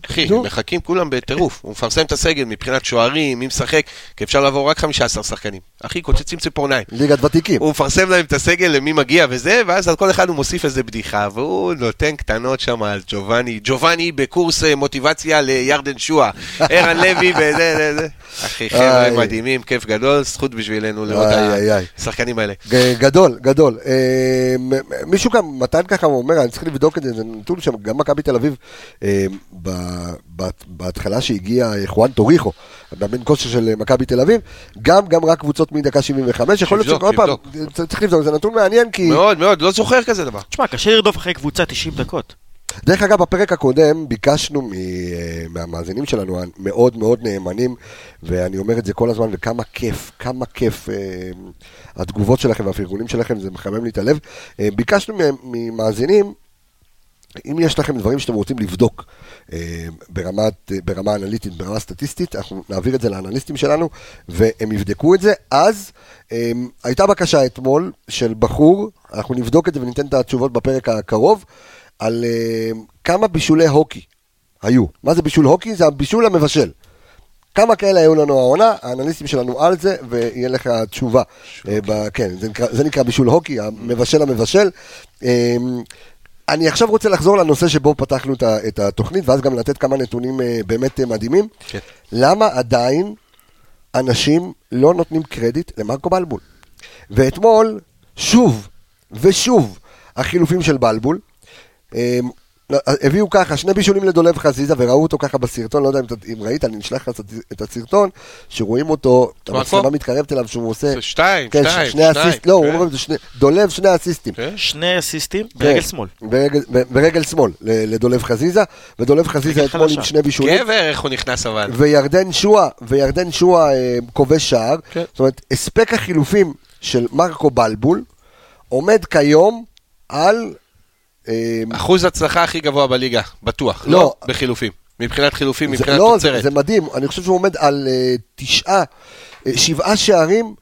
אחי, הם מחכים כולם בטירוף. הוא מפרסם את הסגל מבחינת שוערים, מי משחק, כי אפשר לעבור רק 15 שחקנים. אחי, קוצצים ציפורניים. <laughs> ליגת ותיקים. הוא מפרסם להם את הסגל למי מגיע וזה, ואז על כל אחד הוא מוסיף איזה בדיחה, והוא נותן קטנות שם על ג'ובאני. ג'ובאני בקורס אה, מוטיבציה לירדן שואה. ערן לוי וזה, זה, <laughs> זה. אחי, חבר'ה איי. מדהימים, כיף גדול, זכות בשבילנו לראות איי, איי, איי. את השחקנים האלה. ג- גדול, גדול. אה, מ- מישהו גם, מתן ככה אומר, אני צריך לבדוק את זה, זה נתון שם, גם מכבי תל אביב, אה, ב- בת- בהתחלה שהגיע אה, חואן טוריחו, המאמן כושר של אה, מכבי תל אביב, גם גם רק קבוצות מדקה 75, יכול להיות שיבדוק, שכל פעם, שיבדוק. צ- צריך לבדוק, זה נתון מעניין, כי מאוד מאוד, לא זוכר כזה דבר. תשמע, קשה לרדוף אחרי קבוצה 90 דקות. דרך אגב, בפרק הקודם ביקשנו מ- אה, מהמאזינים שלנו, המאוד מאוד נאמנים, ואני אומר את זה כל הזמן, וכמה כיף, כמה כיף אה, התגובות שלכם והפרגונים שלכם, זה מחמם לי את הלב. אה, ביקשנו מהם- ממאזינים, אם יש לכם דברים שאתם רוצים לבדוק אה, ברמת, אה, ברמה אנליטית, ברמה סטטיסטית, אנחנו נעביר את זה לאנליסטים שלנו, והם יבדקו את זה. אז אה, הייתה בקשה אתמול של בחור, אנחנו נבדוק את זה וניתן את התשובות בפרק הקרוב, על אה, כמה בישולי הוקי היו. מה זה בישול הוקי? זה הבישול המבשל. כמה כאלה היו לנו העונה, האנליסטים שלנו על זה, ויהיה לך תשובה. אה, ב- כן, זה נקרא- זה נקרא בישול הוקי, המבשל המבשל. אה, אני עכשיו רוצה לחזור לנושא שבו פתחנו את ה- את התוכנית, ואז גם לתת כמה נתונים אה, באמת אה, מדהימים. כן. למה עדיין אנשים לא נותנים קרדיט למרקו בלבול? ואתמול, שוב ושוב, החילופים של בלבול. אה, הביאו ככה, שני בישולים לדולב חזיזה, וראו אותו ככה בסרטון, לא יודע אם, אתה- אם ראית, אני אשלח לך את הסרטון, שרואים אותו, כמו המצלמה הכל? מתקרבת אליו, שהוא עושה... זה שתיים, כן, שתיים, שני שתיים, אסיסט, לא, הוא כן. אומר, שני- דולב שני אסיסטים. כן. שני אסיסטים ברגל כן, שמאל. ברגל- ב- ברגל שמאל, ל- לדולב חזיזה, ודולב חזיזה רגל אתמול עם חלשה. שני בישולים. גבר, איך הוא נכנס אבל. וירדן שואה, וירדן שואה אה, כובש שער. כן. זאת אומרת, הספק החילופים של מרקו בלבול עומד כיום על... אה, אחוז הצלחה הכי גבוה בליגה, בטוח. לא. לא. בחילופים. מבחינת חילופים, זה, מבחינת לא, זה, תוצרת. זה מדהים, אני חושב שהוא עומד על אה, תשעה, אה, שבעה שערים,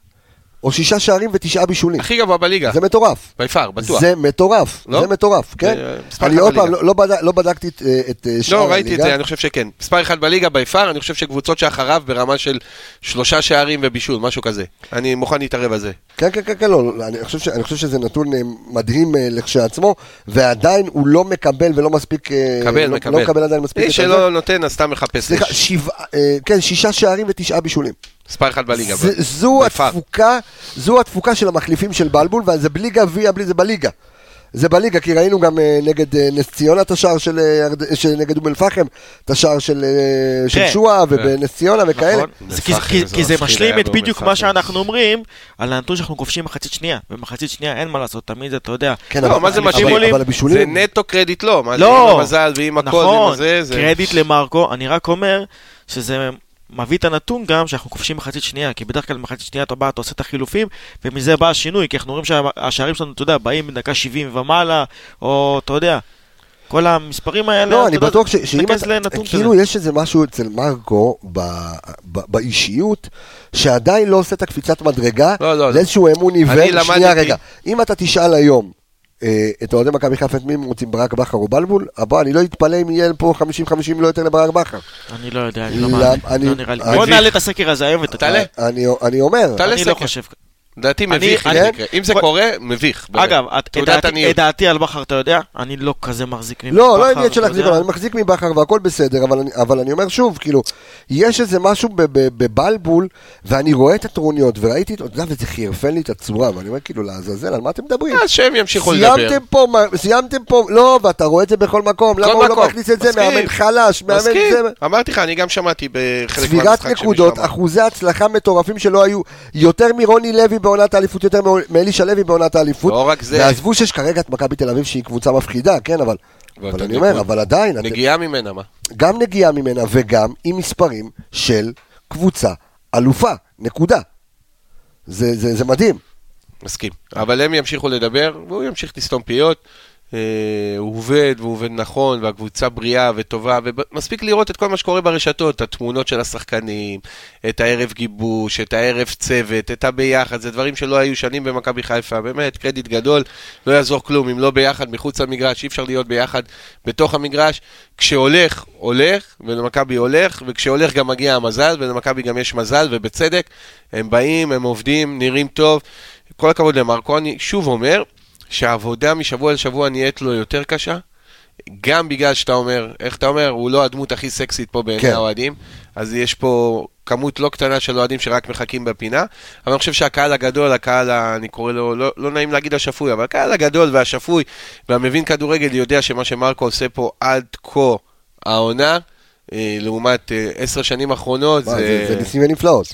או שישה שערים ותשעה בישולים. הכי גבוה בליגה. זה מטורף. ביפר, בטוח. זה מטורף, לא? זה מטורף, כן? אה, מספר אני אחת עוד פעם, בליגה. לא, לא, בדק, לא בדקתי את, אה, את אה, שאר לא, ראיתי הליגה. את זה, אני חושב שכן. מספר אחד בליגה ביפר, אני חושב שקבוצות שאחריו ברמה של שלושה שערים ובישול, משהו כזה. אני מוכן להתערב על זה. כן, כן, כן, כן, לא, לא, אני חושב, ש, אני חושב שזה נתון אה, מדהים אה, לכשעצמו, ועדיין הוא לא מקבל ולא מספיק... אה, קבל, לא, מקבל. לא מקבל עדיין מספיק מי הזה. שלא נותן, אז סתם מחפש. סליחה, אש. שבעה, אה, כן, שישה שערים ותשעה בישולים. מספר אחד בליגה. זה- ב- זו ביפר. התפוקה, זו התפוקה של המחליפים של בלבול, וזה בלי גביע, בלי זה בליגה. זה בליגה, כי ראינו גם אה, נגד אה, נס ציונה את השער של... אה, ירד- של- נגד אום אל-פחם, את השער של אה, של כן. שועה, ובנס ציונה וכאלה. נכון? זה כי- כי- כי זה משלים את בדיוק מה שאנחנו אומרים על הנתון שאנחנו כובשים מחצית שנייה. ומחצית שנייה אין מה לעשות, תמיד אתה יודע. כן, לא, אבל- מה זה אבל- משלים? אבל זה הבישולים... נטו קרדיט לא. מה זה, לא. עם המזל ועם הכל ועם נכון, הזה, זה... קרדיט למרקו, אני רק אומר שזה מביא את הנתון גם שאנחנו כובשים מחצית שנייה, כי בדרך כלל במחצית שנייה אתה בא, אתה עושה את החילופים, ומזה בא השינוי, כי אנחנו רואים שהשערים שלנו, אתה יודע, באים בדקה 70 ומעלה, או אתה יודע, כל המספרים האלה, לא, אתה אני יודע, בטוח ש- שאם תסתכל אתה... לנתון כאילו כזה. יש איזה משהו אצל מרקו ב- ב- באישיות, שעדיין לא עושה את הקפיצת מדרגה, לא, לא, לא. לאיזשהו אמון אני עיוור. למדתי- שנייה, רגע. אם אתה תשאל היום אה, את אוהדי מכבי חיפה את מי הם רוצים, ברק בכר או בלבול, הבא, אני לא אתפלא אם יהיה פה 50-50 לא יותר לברק בכר. אני לא יודע, אני לא למ- מאמין, אני- לא נראה לי. אני- בוא נעלה את הסקר הזה היום ותעלה. תעלה. אני- אני אומר, תעלה אני סקר. לא חושב. לדעתי אני- מביך אם אני- זה יקרה. אם זה בוא- קורה, מביך. באמת. אגב, את- את תעודת דעתי- עניות. את דעתי על בכר אתה יודע? אני לא כזה מחזיק מבכר. לא, לא עניין אתה של להחזיק, יודע. עליו, אני מחזיק מבכר והכל בסדר, אבל אני, אבל אני אומר שוב, כאילו, יש איזה משהו ב- ב- בבלבול, ואני רואה את הטרוניות, וראיתי, את- אתה יודע, וזה חירפן לי את הצורה, ואני אומר, כאילו, לעזאזל, על מה אתם מדברים? אז אה, שהם ימשיכו לדבר. סיימתם פה, מה- סיימתם פה, לא, ואתה רואה את זה בכל מקום, למה הוא לא מקום. מכניס את זה, מסכים. מאמן חלש, מאמן מסכים, זה... אמרתי לך, אני גם שמעתי בחלק צבירת מהמשחק נקודות, אחוזי הצלחה מטורפים שלא היו יותר מרוני לוי בעונת האליפות, יותר מאלישע לוי בעונת האליפות. לא רק זה. ועזבו שיש כרגע את מכבי תל אביב שהיא קבוצה מפחידה, כן, אבל... ואתה אבל אני נקוד. אומר, אבל עדיין, אתם- נגיעה ממנה, מה? גם נגיעה ממנה וגם עם מספרים של קבוצה אלופה, נקודה. זה, זה, זה מדהים. מסכים. אבל הם ימשיכו לדבר, והוא ימשיך לסתום פיות. אה, הוא עובד, והוא עובד נכון, והקבוצה בריאה וטובה, ומספיק לראות את כל מה שקורה ברשתות, את התמונות של השחקנים, את הערב גיבוש, את הערב צוות, את הביחד, זה דברים שלא היו שנים במכבי חיפה, באמת, קרדיט גדול, לא יעזור כלום, אם לא ביחד, מחוץ למגרש, אי אפשר להיות ביחד בתוך המגרש. כשהולך, הולך, ולמכבי הולך, וכשהולך גם מגיע המזל, ולמכבי גם יש מזל, ובצדק, הם באים, הם עובדים, נראים טוב. כל הכבוד למרקו, אני שוב אומר שהעבודה משבוע לשבוע נהיית לו יותר קשה, גם בגלל שאתה אומר, איך אתה אומר, הוא לא הדמות הכי סקסית פה בעיני כן. האוהדים, אז יש פה כמות לא קטנה של אוהדים שרק מחכים בפינה, אבל אני חושב שהקהל הגדול, הקהל, ה- אני קורא לו, לא, לא נעים להגיד השפוי, אבל הקהל הגדול והשפוי והמבין כדורגל יודע שמה שמרקו עושה פה עד כה העונה, אה, לעומת אה, עשר שנים אחרונות, מה, זה... זה, זה ניסים ונפלאות.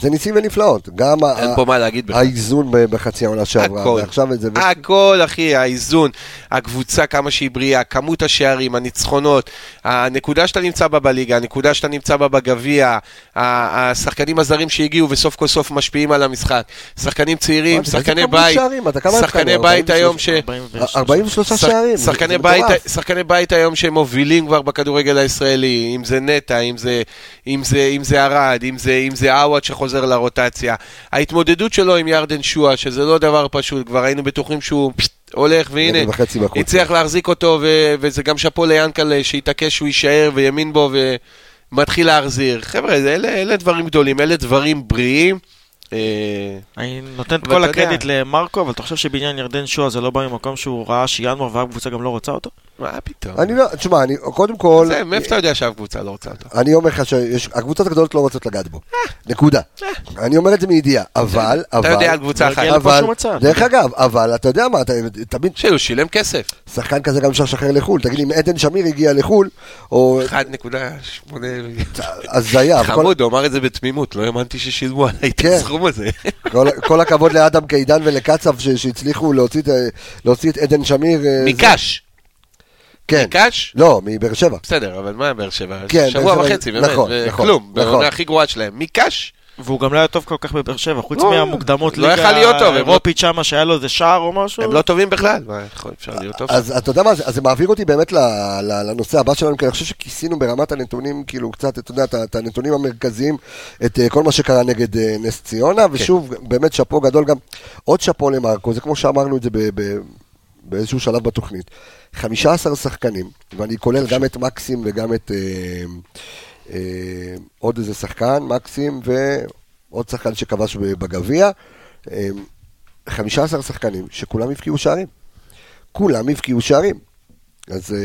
זה ניסים ונפלאות. גם ה- אין פה מה להגיד בכלל. האיזון ב- בחצי העונה שעברה, הכל. אה, ועכשיו את זה. הכל, אחי, האיזון, הקבוצה כמה שהיא בריאה, כמות השערים, הניצחונות, הנקודה שאתה נמצא בה בליגה, הנקודה שאתה נמצא בה בגביע, ה- השחקנים הזרים שהגיעו וסוף כל סוף משפיעים על המשחק, שחקנים צעירים, מה זה, איזה שחקני כמות בית, שערים? אתה כמה שחקני התחלנו? בית היום ש... 43. 43 שערים. זה- שחקני זה בית, מטורף. שחקני בית היום שהם מובילים כבר בכדורגל הישראלי, אם זה נטע, אם זה, אם זה, אם זה ארד, אם זה, אם זה עווד שחוזר לרוטציה. ההתמודדות שלו עם ירדן שואה, שזה לא דבר פשוט, כבר היינו בטוחים שהוא פשט, הולך, והנה, מטר וחצי בחוץ. הצליח להחזיק אותו, ו, וזה גם שאפו ליאנקל שהתעקש שהוא יישאר ויאמין בו, ו, מתחיל להחזיר. חבר'ה, זה- אלה, אלה דברים גדולים, אלה דברים בריאים. אה, אני נותן את אבל כל אתה יודע. הקרדיט למרקו, אבל אתה חושב שבעניין ירדן שואה זה לא בא ממקום שהוא ראה שינואר והקבוצה גם לא רוצה אותו? מה פתאום? אני לא, תשמע, אני, קודם כל, זה, מאיפה אתה יודע שאף קבוצה לא רוצה אותו? אני אומר לך שהקבוצות הגדולות לא רוצות לגעת בו. נקודה. אני אומר את זה מידיעה. אבל, אבל... אה. אתה יודע על קבוצה לא אחת. הגיע לפה אבל, שום הצעה. דרך אגב, אבל אתה יודע מה, אתה תמיד שהוא שילם כסף, שחקן כזה גם אפשר לשחרר לחו"ל, תגיד אם עדן שמיר הגיע לחו"ל, או 1.8 מיליון. הזיה, אבל כל- חמוד, הוא אמר את זה בתמימות, לא האמנתי ששילמו עליי את כן. הסכום הזה. <laughs> כל- כל הכבוד לאדם קידן ולקצב ש- שהצליחו להוציא את- להוציא את עדן שמיר, אה, זה- מקאש, כן, מקאש? לא, מבאר שבע, בסדר, אבל מה באר שבע? כן, שבוע באר שבע- וחצי, באמת, נכון, ו- נכון, כלום, נכון. בעונה הכי גרועה שלהם. מקאש? והוא גם לא היה טוב כל כך בבאר שבע, חוץ לא, מהמוקדמות לא יכל להיות טוב, הם לא- האירופית שמה שהיה לו איזה שער או משהו. הם לא טובים בכלל, מה, יכול- אפשר להיות טוב? אז אתה יודע מה, אז זה מעביר אותי באמת ל- ל- לנושא הבא שלנו, כי אני חושב שכיסינו ברמת הנתונים, כאילו קצת, אתה יודע, את ה- את הנתונים המרכזיים, את אה, כל מה שקרה נגד אה, נס ציונה, ושוב, באמת שאפו גדול גם, עוד שאפו למרקו, זה כמו שאמרנו את זה ב- ב- באיזשהו שלב בתוכנית, 15 שחקנים, ואני כולל גם את מקסים וגם את אה, אה, עוד איזה שחקן, מקסים, ועוד שחקן שכבש בגביע, אה, 15 שחקנים, שכולם הבקיעו שערים. כולם הבקיעו שערים. אז אה,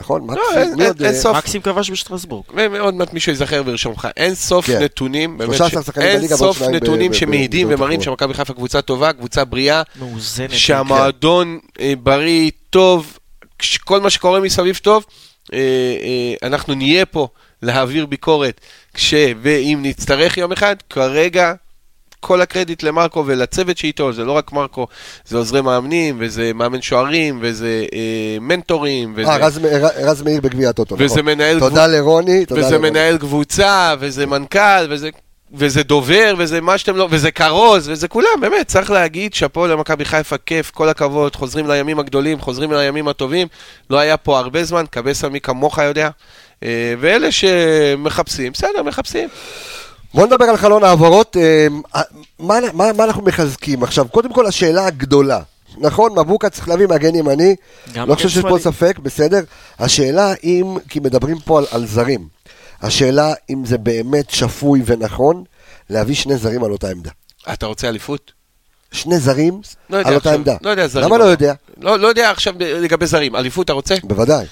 נכון, אין- מקסים, מי לא, אין- עוד? אין אה, סוף. מקסים כבש בשטרסבורג. ועוד מעט מישהו יזכר וירשום לך. אין סוף כן. נתונים, באמת, 13 ש- שחקנים אין בליגה ועוד סוף שניים ב- נתונים ב- ב- שמעידים בליגות ומראים אחרות. שמכבי חיפה קבוצה טובה, קבוצה בריאה, מאוזנת. כן. שהמועדון אה, בריא, טוב, כש- כל מה שקורה מסביב טוב, אה, אה, אנחנו נהיה פה להעביר ביקורת כש ואם נצטרך יום אחד, כרגע כל הקרדיט למרקו ולצוות שאיתו, זה לא רק מרקו, זה עוזרי מאמנים, וזה מאמן שוערים, וזה אה, מנטורים, וזה... אה, רז- ר- רז מאיר בגביע הטוטו, וזה נכון. מנהל תודה לרוני, תודה וזה לרוני. מנהל קבוצה, וזה מנכ"ל, וזה, וזה דובר, וזה מה שאתם לא... וזה כרוז, וזה כולם, באמת, צריך להגיד, שאפו למכבי חיפה, כיף, כל הכבוד, חוזרים לימים הגדולים, חוזרים לימים הטובים. לא היה פה הרבה זמן, קבסה מי כמוך יודע. אה, ואלה שמחפשים, בסדר, מחפשים. בוא נדבר על חלון העברות, אה, מה, מה, מה אנחנו מחזקים עכשיו? קודם כל השאלה הגדולה, נכון, מבוקה צריך להביא מגן ימני, גם לא חושב מגן שיש פה שמאלי. ספק, בסדר? השאלה אם, כי מדברים פה על, על זרים, השאלה אם זה באמת שפוי ונכון להביא שני זרים על אותה עמדה. אתה רוצה אליפות? שני זרים לא יודע על אותה עכשיו, עמדה. לא יודע זרים. למה לא יודע? לא, לא יודע עכשיו לגבי זרים. אליפות אתה רוצה? בוודאי.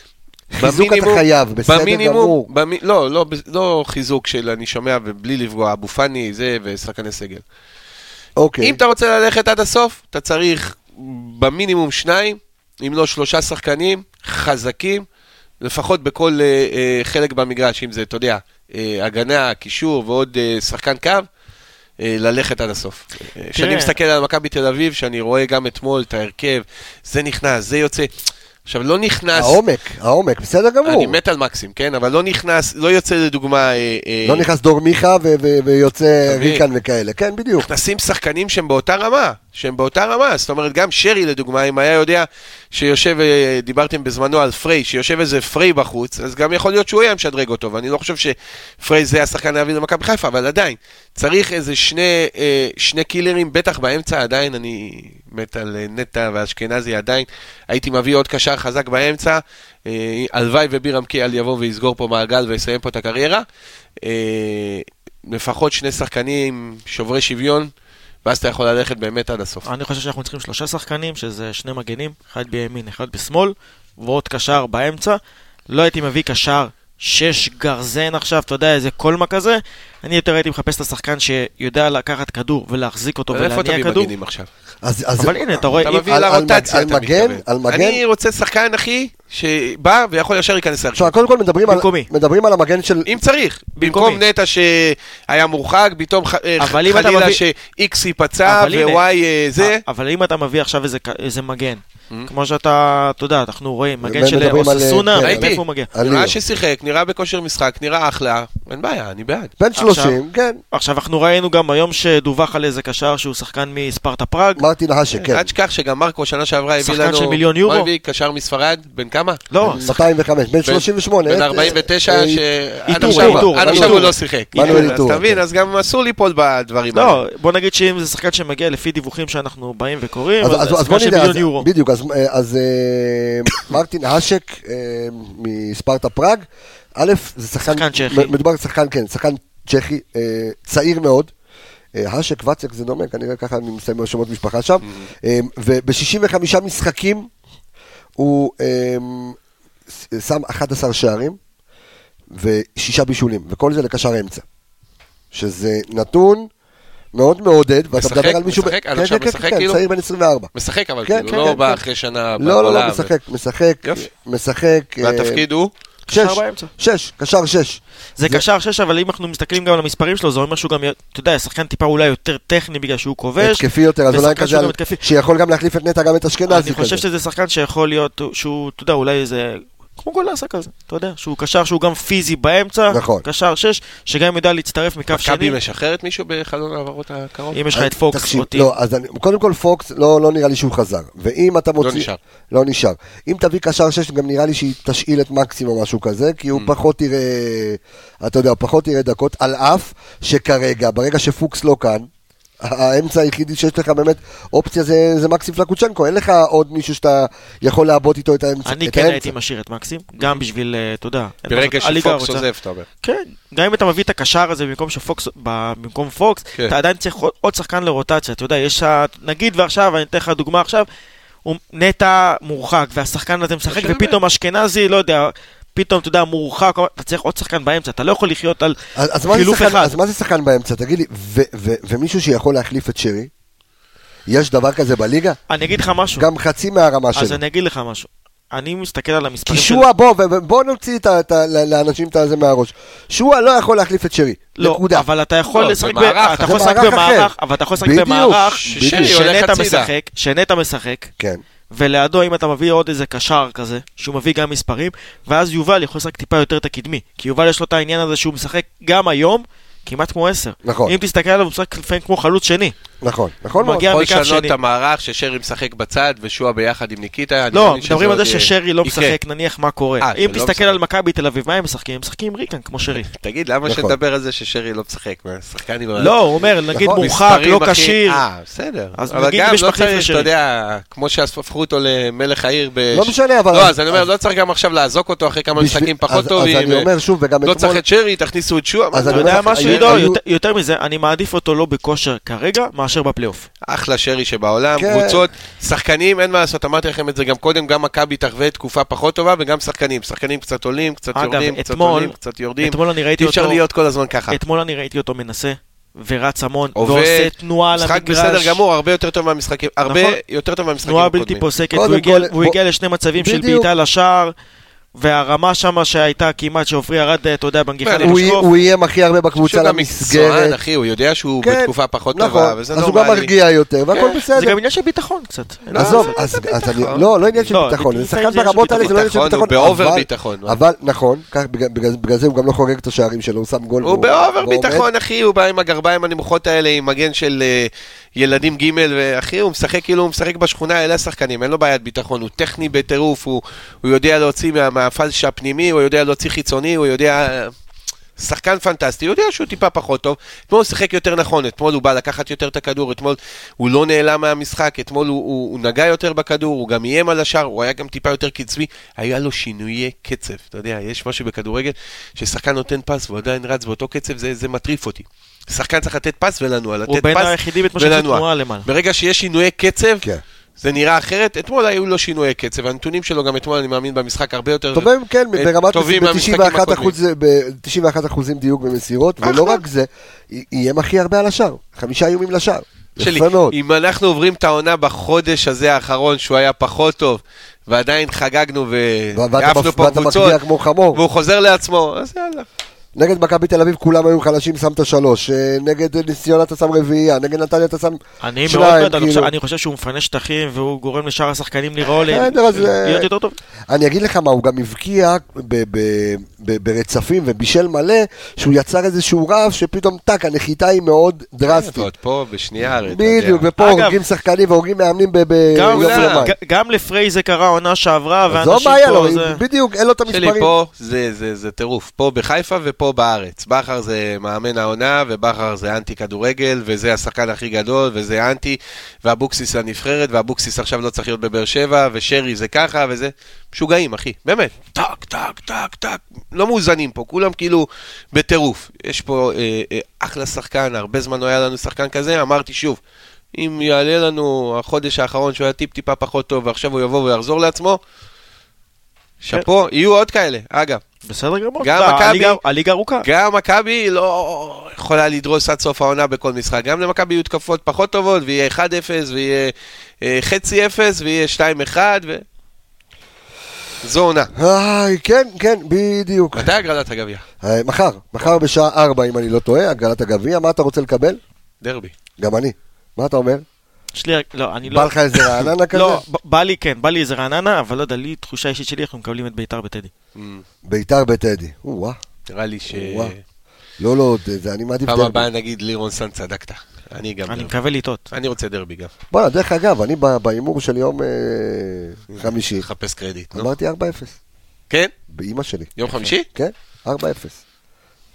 חיזוק אתה במינימום- חייב, בסדר במינימום, גמור. במי- לא, לא, לא חיזוק של אני שומע ובלי לפגוע, אבו פאני זה ושחקני סגל. אוקיי. אם אתה רוצה ללכת עד הסוף, אתה צריך במינימום שניים, אם לא שלושה שחקנים, חזקים, לפחות בכל אה, אה, חלק במגרש, אם זה, אתה יודע, אה, הגנה, קישור ועוד אה, שחקן קו, אה, ללכת עד הסוף. אה, כשאני מסתכל על מכבי תל אביב, שאני רואה גם אתמול את ההרכב, זה נכנס, זה יוצא. עכשיו, לא נכנס... העומק, העומק, בסדר גמור. אני מת על מקסים, כן? אבל לא נכנס, לא יוצא לדוגמה... אה, אה, לא נכנס דור מיכה ו- ו- ויוצא תביא. ריקן וכאלה, כן בדיוק. נכנסים שחקנים שהם באותה רמה, שהם באותה רמה, זאת אומרת גם שרי לדוגמה, אם היה יודע שיושב, אה, דיברתם בזמנו על פריי, שיושב איזה פריי בחוץ, אז גם יכול להיות שהוא היה משדרג אותו, ואני לא חושב שפריי זה השחקן להביא למכבי חיפה, אבל עדיין, צריך איזה שני, אה, שני קילרים, בטח באמצע עדיין, אני מת על אה, נטע ואשכנזי עדיין, הייתי מביא עוד קשר חזק באמצע, אה, הלוואי ובירם קיאל יבוא ויסגור פה מעגל ויסיים פה את הקריירה. אה, לפחות שני שחקנים שוברי שוויון, ואז אתה יכול ללכת באמת עד הסוף. אני חושב שאנחנו צריכים שלושה שחקנים, שזה שני מגנים, אחד בימין, אחד בשמאל, ועוד קשר באמצע. לא הייתי מביא קשר שש גרזן עכשיו, אתה יודע, איזה קולמה כזה. אני יותר הייתי מחפש את השחקן שיודע לקחת כדור ולהחזיק אותו איפה אתה ולהניע מביא כדור. מגנים עכשיו? אז, אז אבל הנה, אתה רואה, אתה אה, אם- מביא על- על לרוטציה, מג- אתה על מגן? מתכוון. על מגן? אני רוצה שחקן, אחי, שבא ויכול ישר להיכנס להרכיב. תשמע, קודם כל מדברים על, במקומי. מדברים על המגן של... אם צריך, במקום נטע שהיה מורחק, פתאום ח- אה, אבל אם אתה חלילה מביא- ש-X ייפצע אבל הנה. ו-Y אה, זה, Mm-hmm. אבל אם אתה מביא עכשיו איזה, ק- איזה מגן, כמו שאתה, אתה יודע, אנחנו רואים, מגן של מדברים על- אוססונה, כן, ראיתי. איפה הוא מגיע? על ליאו. נראה ששיחק, נראה בכושר משחק, נראה אחלה, אין בעיה, אני בעד. בן עכשיו- 30, כן, עכשיו, אנחנו ראינו גם היום שדווח על איזה קשר שהוא שחקן מספרטה פראג. מרטין האשק, כן. אל תשכח שגם מרקו שנה שעברה הביא שחקן לנו... של מיליון יורו. מה הביא? קשר מספרד? בן כמה? לא, 205, בן 38. בן אה, 49, אה, שעד איתור, עכשיו- איתור, עד עכשיו איתור. הוא לא שיחק. מנואל אז איתור, אתה מבין, כן. אז גם אסור ליפול בדברים האלה. לא, בוא נגיד שאם זה שחקן שמגיע לפי דיווחים שאנחנו באים וקוראים, אז, אז, אז בוא נדע, מיליון אז, <coughs> יורו. בדיוק, אז, אה, אז אה, מרטין האשק אה, מספרטה פראג, א', זה שחקן... שחקן צ'כי. מ- מדובר על שחקן, כן, שחקן צ'כי, אה, צעיר מאוד. אה, האשק ואצק זה דומה, כנראה ככה אני מסיים עם שמות משפחה שם. אה, וב-65 משחקים הוא אה, ס- שם 11 שערים ושישה בישולים, וכל זה לקשר אמצע. שזה נתון מאוד מעודד, ואתה משחק? מדבר על מישהו... ב- משחק? עד כן, עכשיו כן, כן, משחק כן, כאילו? צעיר בן 24. משחק אבל, כן, כאילו, כן, לא כן, בא כן. אחרי שנה לא, לא, בעולם, לא, ו- משחק, משחק, יופי. משחק. אה, והתפקיד הוא? קשר שש, באמצע. שש, קשר שש. זה קשר שש, אבל אם אנחנו מסתכלים גם על המספרים שלו, זה אומר שהוא גם, י- אתה יודע, שחקן טיפה אולי יותר טכני בגלל שהוא כובש. התקפי יותר, אז אולי ושחקן כזה, שהוא על- גם התקפי. שיכול גם להחליף את נטע, גם את אשכנזי אני כזה. חושב שזה שחקן שיכול להיות, שהוא, אתה יודע, אולי איזה... כמו גולסה כזה, אתה יודע, שהוא קשר שהוא גם פיזי באמצע, נכון. קשר שש, שגם יודע להצטרף מקו מכבי שני, משחררת מישהו בחלון ההעברות הקרוב? אם יש לך את פוקס תקשיב, אותי, לא, אז אני, קודם כל פוקס, לא, לא נראה לי שהוא חזר. ואם אתה מוציא... נשאר. לא נשאר. אם תביא קשר שש, גם נראה לי שהיא תשאיל את מקסים או משהו כזה, כי הוא פחות יראה, אתה יודע, פחות יראה דקות, על אף שכרגע, ברגע שפוקס לא כאן, האמצע היחידי שיש לך באמת אופציה זה, זה מקסים פלקוצ'נקו, אין לך עוד מישהו שאתה יכול לעבוד איתו את האמצע. אני את כן האמצע. הייתי משאיר את מקסים, גם בשביל, אה, אתה יודע, אין מה ברגע לעשות, הליגה שפוקס רוצה- עוזב, אתה אומר. כן, גם אם אתה מביא את הקשר הזה במקום שפוקס, ב- במקום פוקס, כן. אתה עדיין צריך עוד- עוד שחקן לרוטציה, אתה יודע, יש, ה- נגיד ועכשיו, אני אתן לך דוגמה עכשיו, הוא נטע מורחק, והשחקן הזה משחק, השאלה. ופתאום אשכנזי, לא יודע, פתאום, אתה יודע, מורחק, אתה צריך עוד שחקן באמצע, אתה לא יכול לחיות על אז, אז, מה זה חילוף שחקן, אחד. אז מה זה שחקן באמצע? תגיד לי, ו, ו, ומישהו שיכול להחליף את שרי? יש דבר כזה בליגה? אני אגיד לך משהו, גם חצי מהרמה שלו. אז אני אגיד לך משהו, אני מסתכל על המספרים של... קישוע, בוא, ו- ו- בוא נוציא את ה- את ה- לאנשים את הזה מהראש. שועה לא יכול להחליף את שרי. לא, נקודה. אבל אתה יכול לא, לשחק ב- במערך, אתה יכול זה לשחק מערך אחר. במערך, אבל אתה יכול לשחק בדיוק, במערך, ששרי הולך שנטע הצידה. משחק, שנטע משחק, כן. ולידו אם אתה מביא עוד איזה קשר כזה, שהוא מביא גם מספרים, ואז יובל יכול לשחק טיפה יותר את הקדמי. כי יובל יש לו את העניין הזה שהוא משחק גם היום, כמעט כמו עשר. נכון. אם תסתכל עליו, הוא משחק לפעמים כמו חלוץ שני. נכון, נכון מאוד. מגיע- יכול מכף לשנות שני. את המערך ששרי משחק בצד ושועה ביחד עם ניקיטה. אני לא, מאמין שזה מדברים על זה עוד, אה, ששרי לא יקרה. משחק, נניח מה אה, קורה. אם שלא משחק. תסתכל על מכבי תל אביב, מה הם משחקים? הם משחקים עם ריקן כמו שרי. תגיד, למה נכון. שנדבר על זה ששרי לא משחק? מה, שחקן עם... לא, הוא אומר, נגיד נכון. מורחק, לא מספרים הכי- כשיר. אה, בסדר. אז אבל נגיד גם יש לא מחליף צריך, לשרי. אתה יודע, כמו שהפכו אותו למלך העיר ב... לא משנה, אבל- לא, אז אני אומר, אז- לא צריך גם עכשיו לאזוק אותו אחרי כמה בשביל- משחקים אז- פחות אז טובים. אני ו- אומר שוב, וגם לא אתמול- צריך את שרי, תכניסו את שועה. אז מה, אתה אני יודע אומר לך, משהו, היו- עידו? היו- יותר- יותר מזה, אני מעדיף אותו לא בכושר כרגע, מאשר בפלייאוף. אחלה שרי שבעולם, כן. קבוצות, שחקנים, אין מה לעשות, אמרתי לכם את זה גם קודם, גם מכבי תחווה תקופה פחות טובה, וגם שחקנים, שחקנים קצת עולים, קצת אגב, יורדים, קצת אתמול- עולים, קצת יורדים, אתמול אני ראיתי אי אפשר אותו- להיות כל הזמן ככה. אתמול אני ראיתי אותו מנסה, ורץ המון, עובד, ועושה תנועה על המגרש. משחק בסדר גמור, הרבה יותר טוב מהמשחקים, הרבה נכון. יותר טוב מהמשחקים תנועה בלתי הקודמים. פוסקת, קודם הוא הגיע- כל, הוא בוא- הגיע לשני מצבים של בדיוק. בעיטה לשער, והרמה שמה שהייתה כמעט שעופרי ארד, אתה יודע, בנגיחה הוא הוא יהיה- למשקוף. הוא איים הכי הרבה בקבוצה שהוא גם מקצוען, למסגרת. אחי, הוא יודע שהוא כן, בתקופה פחות נכון. טובה, וזה אז הוא גם נורמלי. מרגיע יותר, והכל כן. זה בסדר. גם עניין של ביטחון קצת. עזוב, זה אז ביטחון. אז אני, לא, לא עניין של לא, ביטחון, זה לפעמים שחקן זה עניין ברמות של האלה, זה לא עניין של ביטחון, ביטחון. הוא באובר אבל- ביטחון. אבל, נכון, כך, בגלל- בגלל בגלל זה הוא גם לא חוגג את השערים שלו, הוא שם גול. הוא והוא- באובר והוא עומד. ביטחון, אחי, הוא בא עם הגרביים הנמוכות האלה, עם מגן של אה, ילדים ג' ואחי, הוא משחק כאילו הוא משחק בשכונה, אלה השחקנים, אין לו בעיית ביטחון, הוא טכני בטירוף, הוא הוא יודע להוציא מה- מהפלש הפנימי, הוא יודע להוציא חיצוני, הוא יודע... אה, שחקן פנטסטי, הוא יודע שהוא טיפה פחות טוב. אתמול הוא שיחק יותר נכון, אתמול הוא בא לקחת יותר את הכדור, אתמול הוא לא נעלם מהמשחק, אתמול הוא, הוא, הוא נגע יותר בכדור, הוא גם איים על השער, הוא היה גם טיפה יותר קצבי, היה לו שינויי קצב. אתה יודע, יש משהו בכדורגל, ששחקן נותן פס והוא עדיין רץ באותו קצב, זה, זה מטריף אותי. שחקן צריך לתת פס ולנוע, לתת הוא בין פס היחידים בתנועה של ולנוע. תנועה למעלה. ברגע שיש שינויי קצב, כן. זה נראה אחרת. אתמול היו לו שינויי קצב, הנתונים שלו גם אתמול, אני מאמין, במשחק הרבה יותר טובים, כן, אה, ברמת טובים מהמשחקים הקודמים. ב-91 אחוזים דיוק במסירות, ולא אחלה. רק זה, י- איים הכי הרבה על השער, חמישה איומים לשער. שלי. יפה מאוד. אם אנחנו עוברים את העונה בחודש הזה האחרון, שהוא היה פחות טוב, ועדיין חגגנו ו- ואתה והעפנו מפ- פה ואתה קבוצות, מפגיע כמו חמור. והוא חוזר לעצמו, אז יאללה. נגד מכבי תל אביב כולם היו חלשים, שמת שלוש, אה, נגד נס ציונה אתה שם רביעייה, נגד נתניה אתה שם אני מאוד שניים, בעד, אני חושב- כאילו. אני חושב שהוא מפנה שטחים, והוא גורם לשאר השחקנים לראות בסדר, אז, אה, להיות יותר טוב. אני אגיד לך מה, הוא גם הבקיע ב- ב- ב- ברצפים ובישל מלא, שהוא יצר איזשהו רב שפתאום טאק, הנחיתה היא מאוד דרסטית. ועוד פה בשנייה, הרי, אתה יודע. בדיוק, ופה אגב- הורגים שחקנים והורגים מאמנים ב- גם- ביום אולי- אה, יומיים. ג- גם לפריי זה קרה עונה שעברה, זו ואנשים הבעיה פה לו, זה... בדיוק, אין לו את שלי המספרים. פה, זה- זה זה טירוף. פה בחיפה ופה פה בארץ. בכר זה מאמן העונה, ובכר זה אנטי כדורגל, וזה השחקן הכי גדול, וזה אנטי, ואבוקסיס הנבחרת, ואבוקסיס עכשיו לא צריך להיות בבאר שבע, ושרי זה ככה, וזה... משוגעים, אחי, באמת. טק, טק, טק, טק. לא מאוזנים פה, כולם כאילו בטירוף. יש פה אה, אה, אחלה שחקן, הרבה זמן לא היה לנו שחקן כזה, אמרתי שוב. אם יעלה לנו החודש האחרון שהוא היה טיפ-טיפה פחות טוב ועכשיו הוא יבוא ויחזור לעצמו, שאפו, יהיו עוד כאלה, אגב. בסדר גמור. גם אתה יודע, מכבי- הליגה- הליגה ארוכה. גם מכבי לא יכולה לדרוס עד סוף העונה בכל משחק. גם למכבי יהיו תקפות פחות טובות, ויהיה 1-0, ויהיה אה, חצי 0, ויהיה 2-1, ו... זו עונה. איי, כן, כן, בדיוק. מתי הגרלת הגביע? אה, מחר, מחר בשעה 4, אם אני לא טועה, הגרלת הגביע, מה אתה רוצה לקבל? דרבי. גם אני. מה אתה אומר? יש לי, לא, אני לא... בא לך איזה רעננה כזה? לא, ב- בא לי, כן, בא לי איזה רעננה, אבל לא יודע, לי תחושה אישית שלי, אנחנו מקבלים את ביתר בטדי. ביתר בטדי. או-אה. נראה לי ש... וואו. לא, לא, זה- זה- אני מעדיף פעם דרבי. הבאה נגיד לירון סן צדקת. אני גם אני דרבי. מקווה לטעות. אני רוצה דרבי גם. בוא'נה, דרך אגב, אני ב- בהימור של יום אה, חמישי, חפש קרדיט, נו. אמרתי 4-0. כן? באימא שלי. יום חמישי? כן, 4-0.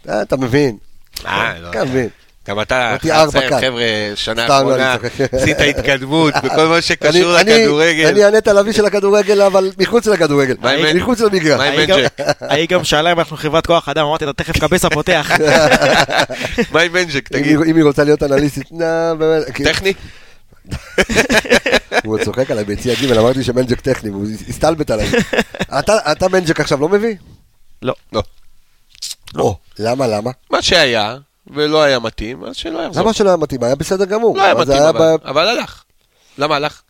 אה, אתה מבין. אה, לא. אתה מבין. גם אתה, אמרתי ארבע חצר, קל. חבר'ה, שנה סתם, לא, אני האחרונה, צוחק. עשית התקדמות בכל מה שקשור אני- אני- אני לכדורגל. הנטע לביא של הכדורגל, אבל מחוץ לכדורגל. אה, מה עם- מחוץ למגרש. מה עם ההיא גם- בן ג'ק? ההיא גם שאלה אם אנחנו חברת כוח אדם, אמרתי לה, תכף קבסה פותח. <laughs> מה עם בנג'ק, אם תגיד? היא- אם היא רוצה להיות אנליסטית, נא, באמת, כי- טכני? הוא עוד צוחק עליי ביציע ג', אמרתי שמנג'ק טכני, והוא הסתלבט <laughs> עליי. אתה- אתה מנג'ק עכשיו לא מביא? לא. לא. או, למה, למה? מה שהיה, ולא היה מתאים, אז שלא יחזור. למה שלא היה מתאים? היה בסדר גמור. לא היה אבל זה מתאים, אבל- ב- אבל הלך. למה הלך?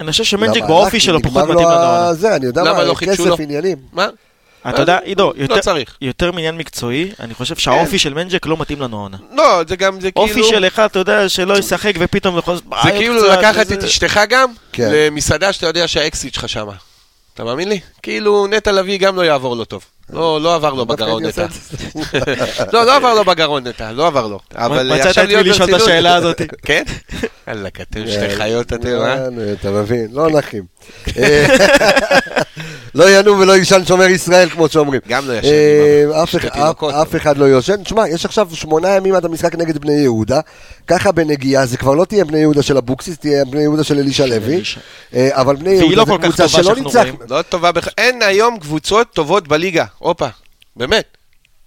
אני חושב שמנג'ק למה? באופי הלך, שלו כי פחות נגמר מתאים לו לדבר. הזה, אני יודע למה מה, לא חידשו כסף, לו? עניינים. מה? אתה יודע, עידו, יותר- אה, לא צריך. כן. יותר מעניין מקצועי, אני חושב שהאופי של מנג'ק לא מתאים לנו העונה. לא, זה גם, זה אופי כאילו... של אחד, אתה יודע, שלא ישחק ופתאום יכול... אה, זה כאילו לקחת את אשתך גם, כן. למסעדה שאתה יודע שהאקסיט שלך שמה. אתה מאמין לי? כאילו נטע לביא גם לא יעבור לו טוב. לא, לא עבר לו דווקא בגרון הייתי נטע. <laughs> עושה לא, לא עבר לו בגרון נטע, לא עבר לו. אבל מצאת עכשיו את מי להיות לשאול את ברצינות. השאלה הזאת. <laughs> כן? וואלכ, אתם כן. שתי חיות אתם, אה? אה, אתה מבין, לא נחים. אה, <laughs> לא ינום ולא יישן שומר ישראל, כמו שאומרים. גם לא ישן, אה, אמא. אף שתי אחד- תינוקות, אף אחד לא יושן. שמע, יש עכשיו שמונה ימים עד המשחק נגד בני יהודה. ככה בנגיעה, זה כבר לא תהיה בני יהודה של אבוקסיס, תהיה בני יהודה של אלישע לוי. אלישע. אה, אבל בני והיא יהודה לא זו כל כך קבוצה טובה שלא שאנחנו ניצח... רואים. לא טובה בכלל. אין היום קבוצות טובות בליגה. הופה, באמת.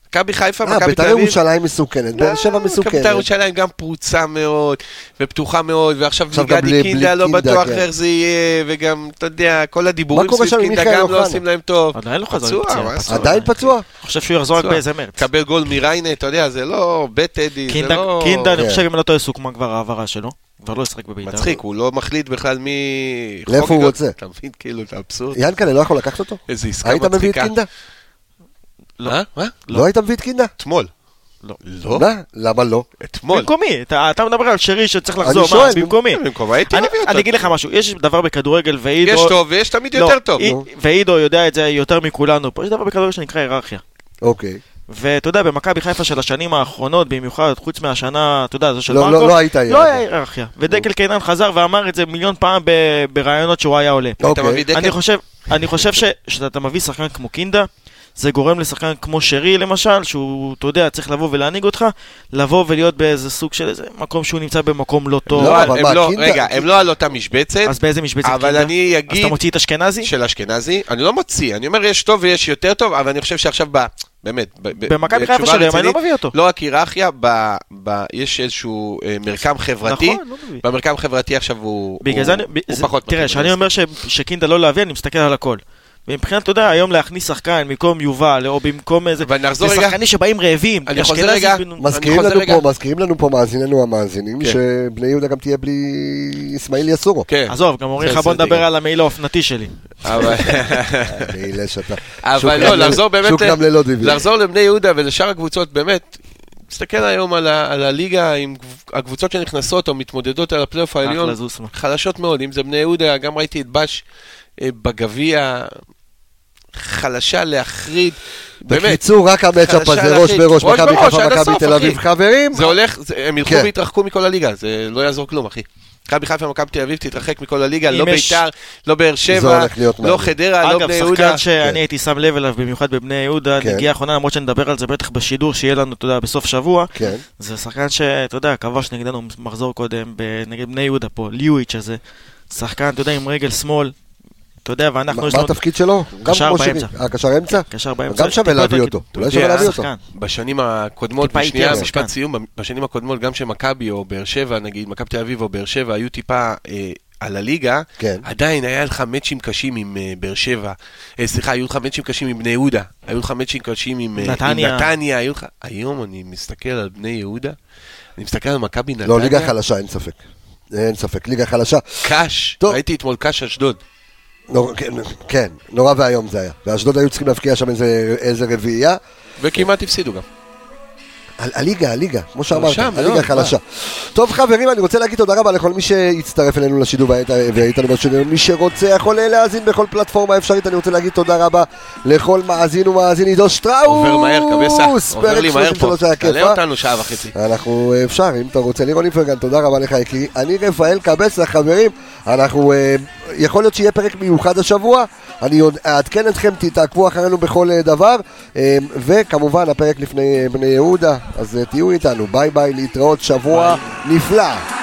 מכבי חיפה, אה, מכבי תל בית"ר אביב. ירושלים אה, מסוכנת, באר שבע לא, מכבי מסוכנת. תל ירושלים גם פרוצה מאוד, ופתוחה מאוד, ועכשיו עכשיו גם בלי- גדי קינדה בלי לא קינדה, בטוח כן. איך זה יהיה, וגם, אתה יודע, כל מה הדיבורים קורה שם עם סביב קינדה מיכאל גם אוחנה? לא עושים להם טוב. עדיין לא חזר פצוע, מפציעה, מה פצוע. לעשות? עדיין פצוע? אוקיי. אני חושב שהוא יחזור רק פצוע. באיזה מרץ. קבל גול מריינה, אתה יודע, זה לא בית אדי, זה קינדה, לא... קינדה, אני כן. חושב, אם לא טועה, סוכמה כבר ההעברה שלו. כבר לא ישחק בביתר. מצחיק, הוא לא מחליט בכלל מי... לאיפה הוא חוגג- רוצה? אתה מבין, כאילו, את האבסורד? ינקלה לא יכול לקחת אותו? איזה עסקה היית אה, מצחיקה. מביא את קינדה? לא. אה? מה? לא היית מביא את קינדה? אתמול. לא. לא? מה? למה לא? אתמול. במקומי, אתה, אתה מדבר על שרי שצריך לחזור, שואל, מה, במקומי. במקום, הייתי אני, מביא אותו. אני אגיד לך משהו, יש דבר בכדורגל ועידו... יש טוב ויש תמיד יותר טוב. אי- נו. ועידו יודע את זה יותר מכולנו פה, יש דבר בכדורגל שנקרא היררכיה. אוקיי. ואתה יודע, במכבי חיפה של השנים האחרונות, במיוחד, חוץ מהשנה, אתה יודע, זו של לא, מרקו, לא, לא הייתה לא היררכיה. היה היררכיה. ודקל קינן חזר ואמר את זה מיליון פעם ב- בראיונות שהוא היה עולה. אתה מביא דקל? אני חושב, אני חושב ש- שאתה מביא שחקן כמו קינדה, זה גורם לשחקן כמו שרי למשל, שהוא, אתה יודע, צריך לבוא ולהנהיג אותך, לבוא ולהיות באיזה סוג של איזה מקום שהוא נמצא במקום לא טוב. לא, לא, אבל הם מה, לא- קינדה- רגע, הם לא על אותה משבצת. אז באיזה משבצת קינדה? אבל אני אז אגיד אתה מוציא את אשכנזי? של אשכנזי, אני לא מוציא, אני אומר יש טוב ויש יותר טוב, אבל אני חושב שעכשיו, ב- באמת, ב- ב- במכבי חיפה בתשובה של היום אני רצינית, לא מביא אותו. לא רק היררכיה, ב- ב- יש איזשהו אה, מרקם חברתי, נכון, לא מביא. במרקם חברתי עכשיו הוא בגלל הוא- זה אני... הוא זה- פחות... תראה, מתאים כשאני לזה. אומר ש- שקינדה לא להביא, אני מסתכל על הכל. ומבחינת, אתה יודע, היום להכניס שחקן במקום יובל, או במקום איזה... אבל נחזור זה רגע. שחקנים שבאים רעבים. אני חוזר אשכנזי רגע. בנו- מזכירים חוזר לנו רגע. פה, מזכירים לנו פה מאזיננו המאזינים, כן. שבני יהודה גם תהיה בלי אסמאעיל יסורו. כן, עזוב, גם אומרים זה- לך בוא זה- נדבר על המעיל האופנתי שלי. אבל- מעילה שאתה- שוק אבל גם לא, ל- לחזור באמת, שוק ל- גם ללא דיבי. לחזור לבני יהודה ולשאר הקבוצות, באמת, תסתכל היום על ה- על הליגה, עם קב- הקבוצות שנכנסות או מתמודדות על הפלייאוף העליון, אחלה זוסמן. חלשות מאוד, אם זה בני יהודה, גם ראיתי את בש אה, בגביע, חלשה להחריד, באמת, בקיצור, רק המצ'אפ חלשה הזה, ראש להחליט. בראש, ראש מכבי בראש, חיפה, עד מכבי הסוף, תל אביב, אחי. חברים. זה הולך, זה- הם ילכו כן. ויתרחקו מכל הליגה, זה לא יעזור כלום, אחי. מכבי חיפה ומכבי תל אביב תתרחק מכל הליגה, לא אם יש- ביתר, לא באר זה שבע, הולך להיות לא מעניין. חדרה, לא אגב, בני יהודה. שחקן שאני הייתי שם לב אליו, במיוחד בבני יהודה, כן. נגיעה האחרונה, למרות שנדבר על זה בטח בשידור שיהיה לנו, אתה יודע, בסוף שבוע, כן. זה שחקן שאתה יודע, כבש נגדנו מחזור קודם, ב- נגד בני יהודה פה, ליואיץ' הזה. שחקן, אתה יודע, עם רגל שמאל, אתה יודע, ואנחנו מה יש מה לנו... התפקיד שלו? גם קשר כמו באמצע. שירי. אה, קשר אמצע? קשר באמצע. גם שווה טיפה להביא יותר- אותו. אולי אתה שווה יודע, להביא אותו. שחקן. בשנים הקודמות, טיפה בשנייה, יותר, משפט כן. סיום, בשנים הקודמות גם שמכבי או באר שבע, נגיד, מכבי תל אביב או באר שבע, היו טיפה אה, על הליגה, כן. עדיין היה לך מאצ'ים קשים עם אה, באר שבע. אה, סליחה, היו לך מאצ'ים קשים עם בני יהודה, היו לך מאצ'ים קשים עם אה, עם נתניה. נתניה, היו לך... היום אני מסתכל על בני יהודה, אני מסתכל על מכבי נתניה, לא, ליגה חלשה, אין ספק. אין ספק, ליגה חלשה. קאש, טוב. ראיתי אתמול קאש אשדוד. נור- כן, כן, נורא ואיום זה היה. ואשדוד היו צריכים להבקיע שם איזה- איזה רביעייה. כן. וכמעט הפסידו גם. ה- הליגה, הליגה, כמו שאמרת, שם, לא, הליגה חלשה. טוב חברים, אני רוצה להגיד תודה רבה לכל מי שהצטרף אלינו לשידור והיית- ואיתנו בשידור. מי שרוצה יכול להאזין בכל פלטפורמה אפשרית, אני רוצה להגיד תודה רבה לכל מאזין ומאזין עידו שטראוס. עובר מהר, קבסה, עובר פרק לי מהר פה. 33 היה כיף, תעלה אה? אותנו שעה וחצי. אנחנו אה, אפשר, אם אתה רוצה, לירון איפרגן, תודה רבה לך יקירי. אני רפאל קבסה, חברים, אנחנו, אה, יכול להיות שיהיה פרק מיוחד השבוע, אני עוד אעדכן אתכם, תתעקבו אחרינו בכל אה, דבר, אה, וכמובן הפרק לפני אה, בני יהודה, אז אה, תהיו איתנו, ביי ביי, להתראות, שבוע נפלא.